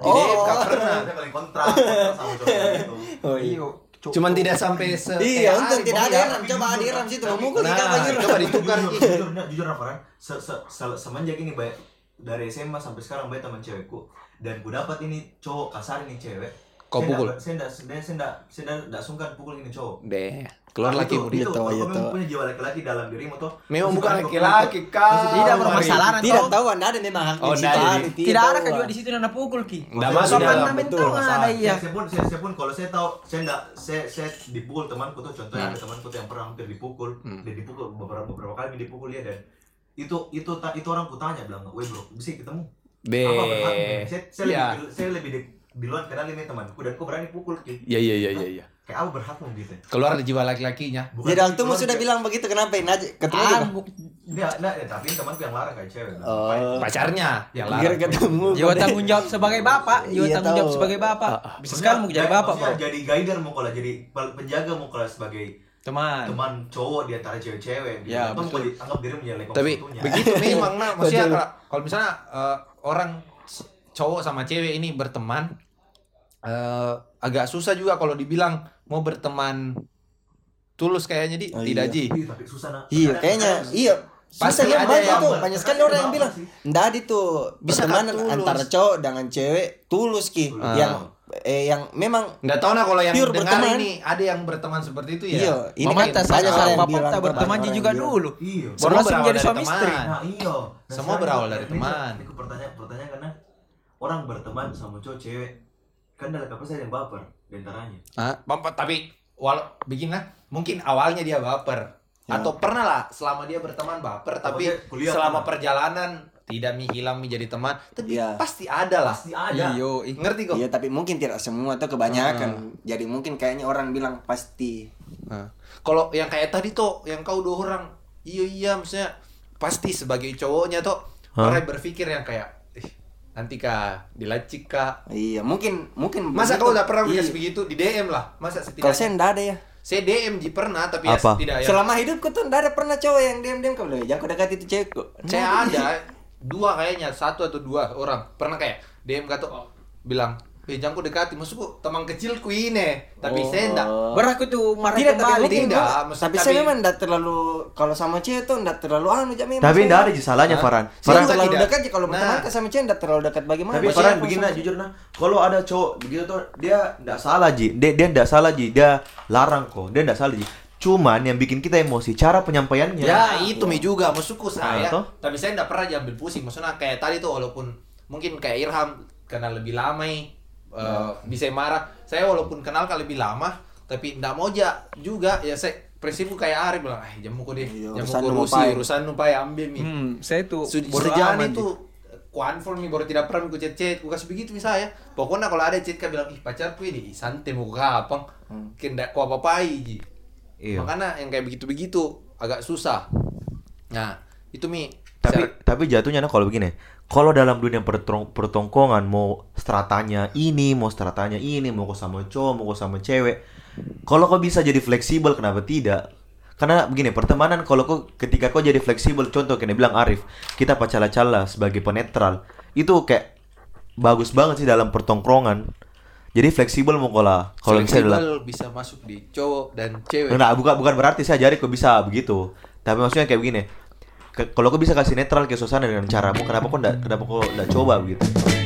[SPEAKER 1] Di DM nggak pernah.
[SPEAKER 4] pernah saya paling kontra kontra sama cowok gitu
[SPEAKER 2] Oh, iya.
[SPEAKER 1] Cuman tidak sampai se
[SPEAKER 2] Iya,
[SPEAKER 1] kayak
[SPEAKER 2] untung
[SPEAKER 1] Ali,
[SPEAKER 2] tidak
[SPEAKER 1] Bang,
[SPEAKER 2] ada
[SPEAKER 1] ya.
[SPEAKER 2] Ram. Coba ada Ram situ mau mukul
[SPEAKER 1] Nah,
[SPEAKER 2] kita apa
[SPEAKER 1] coba ditukar.
[SPEAKER 4] jujur jujur nah, jujur apa Ran? se se se- semenjak ini banyak dari SMA sampai sekarang banyak teman cewekku dan ku dapat ini cowok kasar ini cewek
[SPEAKER 1] Kau
[SPEAKER 4] Saya
[SPEAKER 1] pukul?
[SPEAKER 4] nggak- saya nggak saya nggak- saya nggak saya nggak- nggak sungkan pukul ini cowok
[SPEAKER 1] Deh, keluar
[SPEAKER 4] Tapi
[SPEAKER 1] lagi
[SPEAKER 4] itu-
[SPEAKER 1] murid.
[SPEAKER 4] itu,
[SPEAKER 2] tahu,
[SPEAKER 4] kau
[SPEAKER 2] iya,
[SPEAKER 4] memang
[SPEAKER 2] tahu.
[SPEAKER 4] punya jiwa laki-laki dalam dirimu tuh
[SPEAKER 1] Memang bukan
[SPEAKER 4] Masih-
[SPEAKER 1] laki-laki kau.
[SPEAKER 3] Tidak bermasalah.
[SPEAKER 1] bermasalah.
[SPEAKER 2] Tidak tahu Anda ada memang hak
[SPEAKER 1] Oh,
[SPEAKER 2] di
[SPEAKER 1] nggak
[SPEAKER 2] situ,
[SPEAKER 1] ada
[SPEAKER 2] ada,
[SPEAKER 1] di-
[SPEAKER 3] Tidak ada
[SPEAKER 2] tahu,
[SPEAKER 3] kan juga
[SPEAKER 2] ah.
[SPEAKER 3] di situ nana pukul ki.
[SPEAKER 1] Tidak
[SPEAKER 4] Masuk
[SPEAKER 1] masuk
[SPEAKER 4] di dalam,
[SPEAKER 1] dalam
[SPEAKER 3] betul ada iya.
[SPEAKER 4] saya pun saya, saya pun kalau saya tahu saya nggak saya saya dipukul temanku tuh
[SPEAKER 1] Nah.
[SPEAKER 4] contohnya ada temanku tuh yang pernah hampir dipukul
[SPEAKER 1] Hmm.
[SPEAKER 4] dia dipukul beberapa beberapa kali dipukul dia dan itu itu ta- itu orang ku tanya bilang weh bro bisa ketemu
[SPEAKER 1] Deh.
[SPEAKER 4] apa berhak?" saya, saya
[SPEAKER 1] Eh, Iya.
[SPEAKER 4] lebih saya lebih di, duluan kenal ini temanku dan ku berani pukul gitu
[SPEAKER 1] Iya iya iya iya iya.
[SPEAKER 4] kayak aku berhak mau gitu
[SPEAKER 1] Keluar dari jiwa laki-lakinya.
[SPEAKER 4] Bukan- gitu,
[SPEAKER 2] Jadi Altumu
[SPEAKER 4] bukan-
[SPEAKER 2] sudah bilang begitu kenapa ini aja
[SPEAKER 4] gitu,
[SPEAKER 2] ketemu
[SPEAKER 3] Ah,
[SPEAKER 2] juga.
[SPEAKER 3] bu-
[SPEAKER 4] Nggak, nggak, ya, tapi temanku yang larang kayak cewek bilang, "Ngapain?"
[SPEAKER 2] Oh.
[SPEAKER 1] Pacarnya Ya yang
[SPEAKER 2] Kira
[SPEAKER 1] larang.
[SPEAKER 2] ketemu.
[SPEAKER 3] Jiwa tanggung jawab sebagai bapak, jiwa
[SPEAKER 2] Iya,
[SPEAKER 3] tanggung jawab
[SPEAKER 2] tahu. Ah,
[SPEAKER 3] sebagai bapak. Bisa
[SPEAKER 4] Maksudnya,
[SPEAKER 3] sekarang mau jadi
[SPEAKER 4] kayak-
[SPEAKER 3] bapak, Bro.
[SPEAKER 4] maksudnya jadi guider mau kalau jadi pel- penjaga mau kalau sebagai
[SPEAKER 3] Teman.
[SPEAKER 4] teman cowok di antara cewek-cewek gitu.
[SPEAKER 3] Nah. Ya,
[SPEAKER 4] Atau
[SPEAKER 3] betul.
[SPEAKER 4] mau dianggap diri menjadi lekong
[SPEAKER 1] Tapi
[SPEAKER 4] satunya.
[SPEAKER 1] begitu memang nah, maksudnya kalau, kalau misalnya eh, orang s- cowok sama cewek ini berteman eh, agak susah juga kalau dibilang mau berteman tulus kayaknya di
[SPEAKER 2] Oh,
[SPEAKER 1] tidak
[SPEAKER 2] iya.
[SPEAKER 1] ji.
[SPEAKER 4] Ih, tapi susah nah.
[SPEAKER 2] Iya, kayaknya iya.
[SPEAKER 1] Pasti
[SPEAKER 2] Pasti
[SPEAKER 1] ada
[SPEAKER 2] ada
[SPEAKER 1] yang- Hmm.
[SPEAKER 2] tuh. Banyak sekali orang yang bilang, "Ndak ada tuh
[SPEAKER 1] Bisa kan
[SPEAKER 2] pertemanan
[SPEAKER 1] tulus?" Ah.
[SPEAKER 2] antara cowok dengan cewek tulus ki
[SPEAKER 4] Tulus.
[SPEAKER 2] yang eh yang memang
[SPEAKER 1] Nggak tahu nah kalau yang
[SPEAKER 2] Pure
[SPEAKER 1] dengar
[SPEAKER 2] berteman.
[SPEAKER 1] ini ada yang berteman seperti itu ya.
[SPEAKER 2] Iya, ini
[SPEAKER 1] Mama
[SPEAKER 2] kan
[SPEAKER 3] Mamata
[SPEAKER 2] banyak
[SPEAKER 3] saja
[SPEAKER 2] orang yang
[SPEAKER 3] sama
[SPEAKER 2] bilang
[SPEAKER 3] papata
[SPEAKER 2] teman,
[SPEAKER 3] berteman
[SPEAKER 2] orang yang
[SPEAKER 3] juga
[SPEAKER 2] bilang.
[SPEAKER 3] dulu.
[SPEAKER 4] Iya.
[SPEAKER 1] Semua
[SPEAKER 3] Langsung
[SPEAKER 1] berawal
[SPEAKER 3] jadi
[SPEAKER 1] dari
[SPEAKER 3] suami
[SPEAKER 1] teman.
[SPEAKER 3] istri.
[SPEAKER 4] Nah, iya. Nah,
[SPEAKER 1] Semua
[SPEAKER 4] sekarang
[SPEAKER 1] berawal
[SPEAKER 4] ini-
[SPEAKER 1] dari
[SPEAKER 4] ini-
[SPEAKER 1] teman.
[SPEAKER 4] Ini pertanyaan pertanyaan karena orang berteman sama cowok cewek kan dalam kapal saya yang baper di antaranya.
[SPEAKER 1] Ah, baper, tapi walau begini lah, mungkin awalnya dia baper atau pernah lah selama dia berteman baper tapi
[SPEAKER 4] Pokoknya kuliah
[SPEAKER 1] selama
[SPEAKER 4] pernah.
[SPEAKER 1] perjalanan tidak menghilang menjadi teman tapi
[SPEAKER 2] Iya.
[SPEAKER 1] pasti ada lah Iya.
[SPEAKER 4] Pasti ada.
[SPEAKER 3] Iyo, ih.
[SPEAKER 1] ngerti kok
[SPEAKER 2] Iya, tapi mungkin tidak semua atau
[SPEAKER 1] Ah.
[SPEAKER 2] kebanyakan. Jadi mungkin kayaknya orang bilang pasti
[SPEAKER 1] Nah, kalau yang kayak tadi tuh yang kau dua orang iya iya maksudnya pasti sebagai cowoknya tuh orang berpikir yang kayak "Ih, nanti kak dilacik kak
[SPEAKER 2] Iya, mungkin mungkin
[SPEAKER 1] masa
[SPEAKER 2] begitu.
[SPEAKER 1] kau udah pernah
[SPEAKER 2] Iya.
[SPEAKER 1] bekas begitu di DM lah masa
[SPEAKER 2] Kalau saya
[SPEAKER 1] setidaknya
[SPEAKER 2] enggak ada ya.
[SPEAKER 1] saya DM ji pernah tapi ya
[SPEAKER 5] Apa?
[SPEAKER 1] tidak ya
[SPEAKER 2] Selama hidupku tuh enggak ada pernah cowok yang diam-diam kau bilang, "Jangan kau dekati itu cewek." kok."
[SPEAKER 1] Saya ada dua kayaknya, satu atau dua orang. Pernah kayak DM kata bilang, "Eh, jangan ku dekati, maksudku teman kecilku ini." Tapi saya enggak.
[SPEAKER 2] Oh.
[SPEAKER 3] Berarti aku tuh marah
[SPEAKER 2] Tidak tapi
[SPEAKER 3] kembali.
[SPEAKER 2] mungkin
[SPEAKER 1] tidak,
[SPEAKER 2] gua-
[SPEAKER 1] maksud-
[SPEAKER 2] tapi, saya
[SPEAKER 1] tapi-
[SPEAKER 2] memang enggak terlalu kalau sama cewek tuh enggak terlalu anu jam
[SPEAKER 5] Tapi enggak ada salahnya Farhan.
[SPEAKER 2] Saya
[SPEAKER 1] Farhan.
[SPEAKER 2] juga terlalu
[SPEAKER 1] Tidak.
[SPEAKER 2] dekat aja kalau
[SPEAKER 1] Nah.
[SPEAKER 2] berteman kan sama cewek enggak terlalu dekat bagaimana?
[SPEAKER 5] Tapi
[SPEAKER 2] Maksudnya
[SPEAKER 5] Farhan
[SPEAKER 2] aku
[SPEAKER 5] begini
[SPEAKER 2] sama-
[SPEAKER 5] nah, jujur nah, kalau ada cowok begitu tuh dia enggak salah Ji. Dia dia enggak salah Ji. Dia larang kok. Dia enggak salah Ji. Cuman yang bikin kita emosi cara penyampaiannya. Iya.
[SPEAKER 1] Ya, itu Mi juga maksudku saya.
[SPEAKER 5] Nah, toh.
[SPEAKER 1] tapi saya enggak pernah diambil pusing. Maksudnya kayak tadi tuh walaupun mungkin kayak Irham kenal lebih lama eh, bisa marah. Saya walaupun kenal kan lebih lama, tapi enggak mau ja juga ya saya prinsipku kayak Arif bilang, "Ah, jamu kok deh.
[SPEAKER 2] Iya,
[SPEAKER 1] Jamu
[SPEAKER 2] urusan
[SPEAKER 1] kok
[SPEAKER 2] lu
[SPEAKER 1] urusi,
[SPEAKER 2] ngapain?"
[SPEAKER 1] urusan lu pai ambil mi."
[SPEAKER 3] Hmm, saya tuh bodo
[SPEAKER 1] Sejauh
[SPEAKER 3] amat.
[SPEAKER 1] itu kuanfol nih baru tidak pernah ku chat-chat ku kasih begitu misalnya ya. pokoknya kalau ada chat kau bilang ih pacarku ini ih, santai mau kapang kendak ku apa-apai ji
[SPEAKER 5] Hmm. Iya.
[SPEAKER 1] makanya yang kayak begitu-begitu agak susah nah itu mi Secara-
[SPEAKER 5] tapi tapi jatuhnya nah kalau begini kalau dalam dunia pertong- pertongkongan mau stratanya ini mau stratanya ini mau kok sama cowok mau kok sama cewek kalau kau bisa jadi fleksibel kenapa tidak karena begini pertemanan kalau kau ketika kau jadi fleksibel contoh kayak dia bilang Arif kita pacala-cala sebagai penetral itu kayak bagus banget sih dalam pertongkrongan jadi fleksibel mau kalau kalau misalnya dalam-
[SPEAKER 1] fleksibel bisa masuk di cowok dan cewek
[SPEAKER 5] Enggak, bukan bukan berarti saya jari kok bisa begitu. Tapi maksudnya kayak begini. ke- kalau kau bisa kasih netral ke suasana dengan caramu, kenapa kau enggak kenapa kau enggak coba begitu?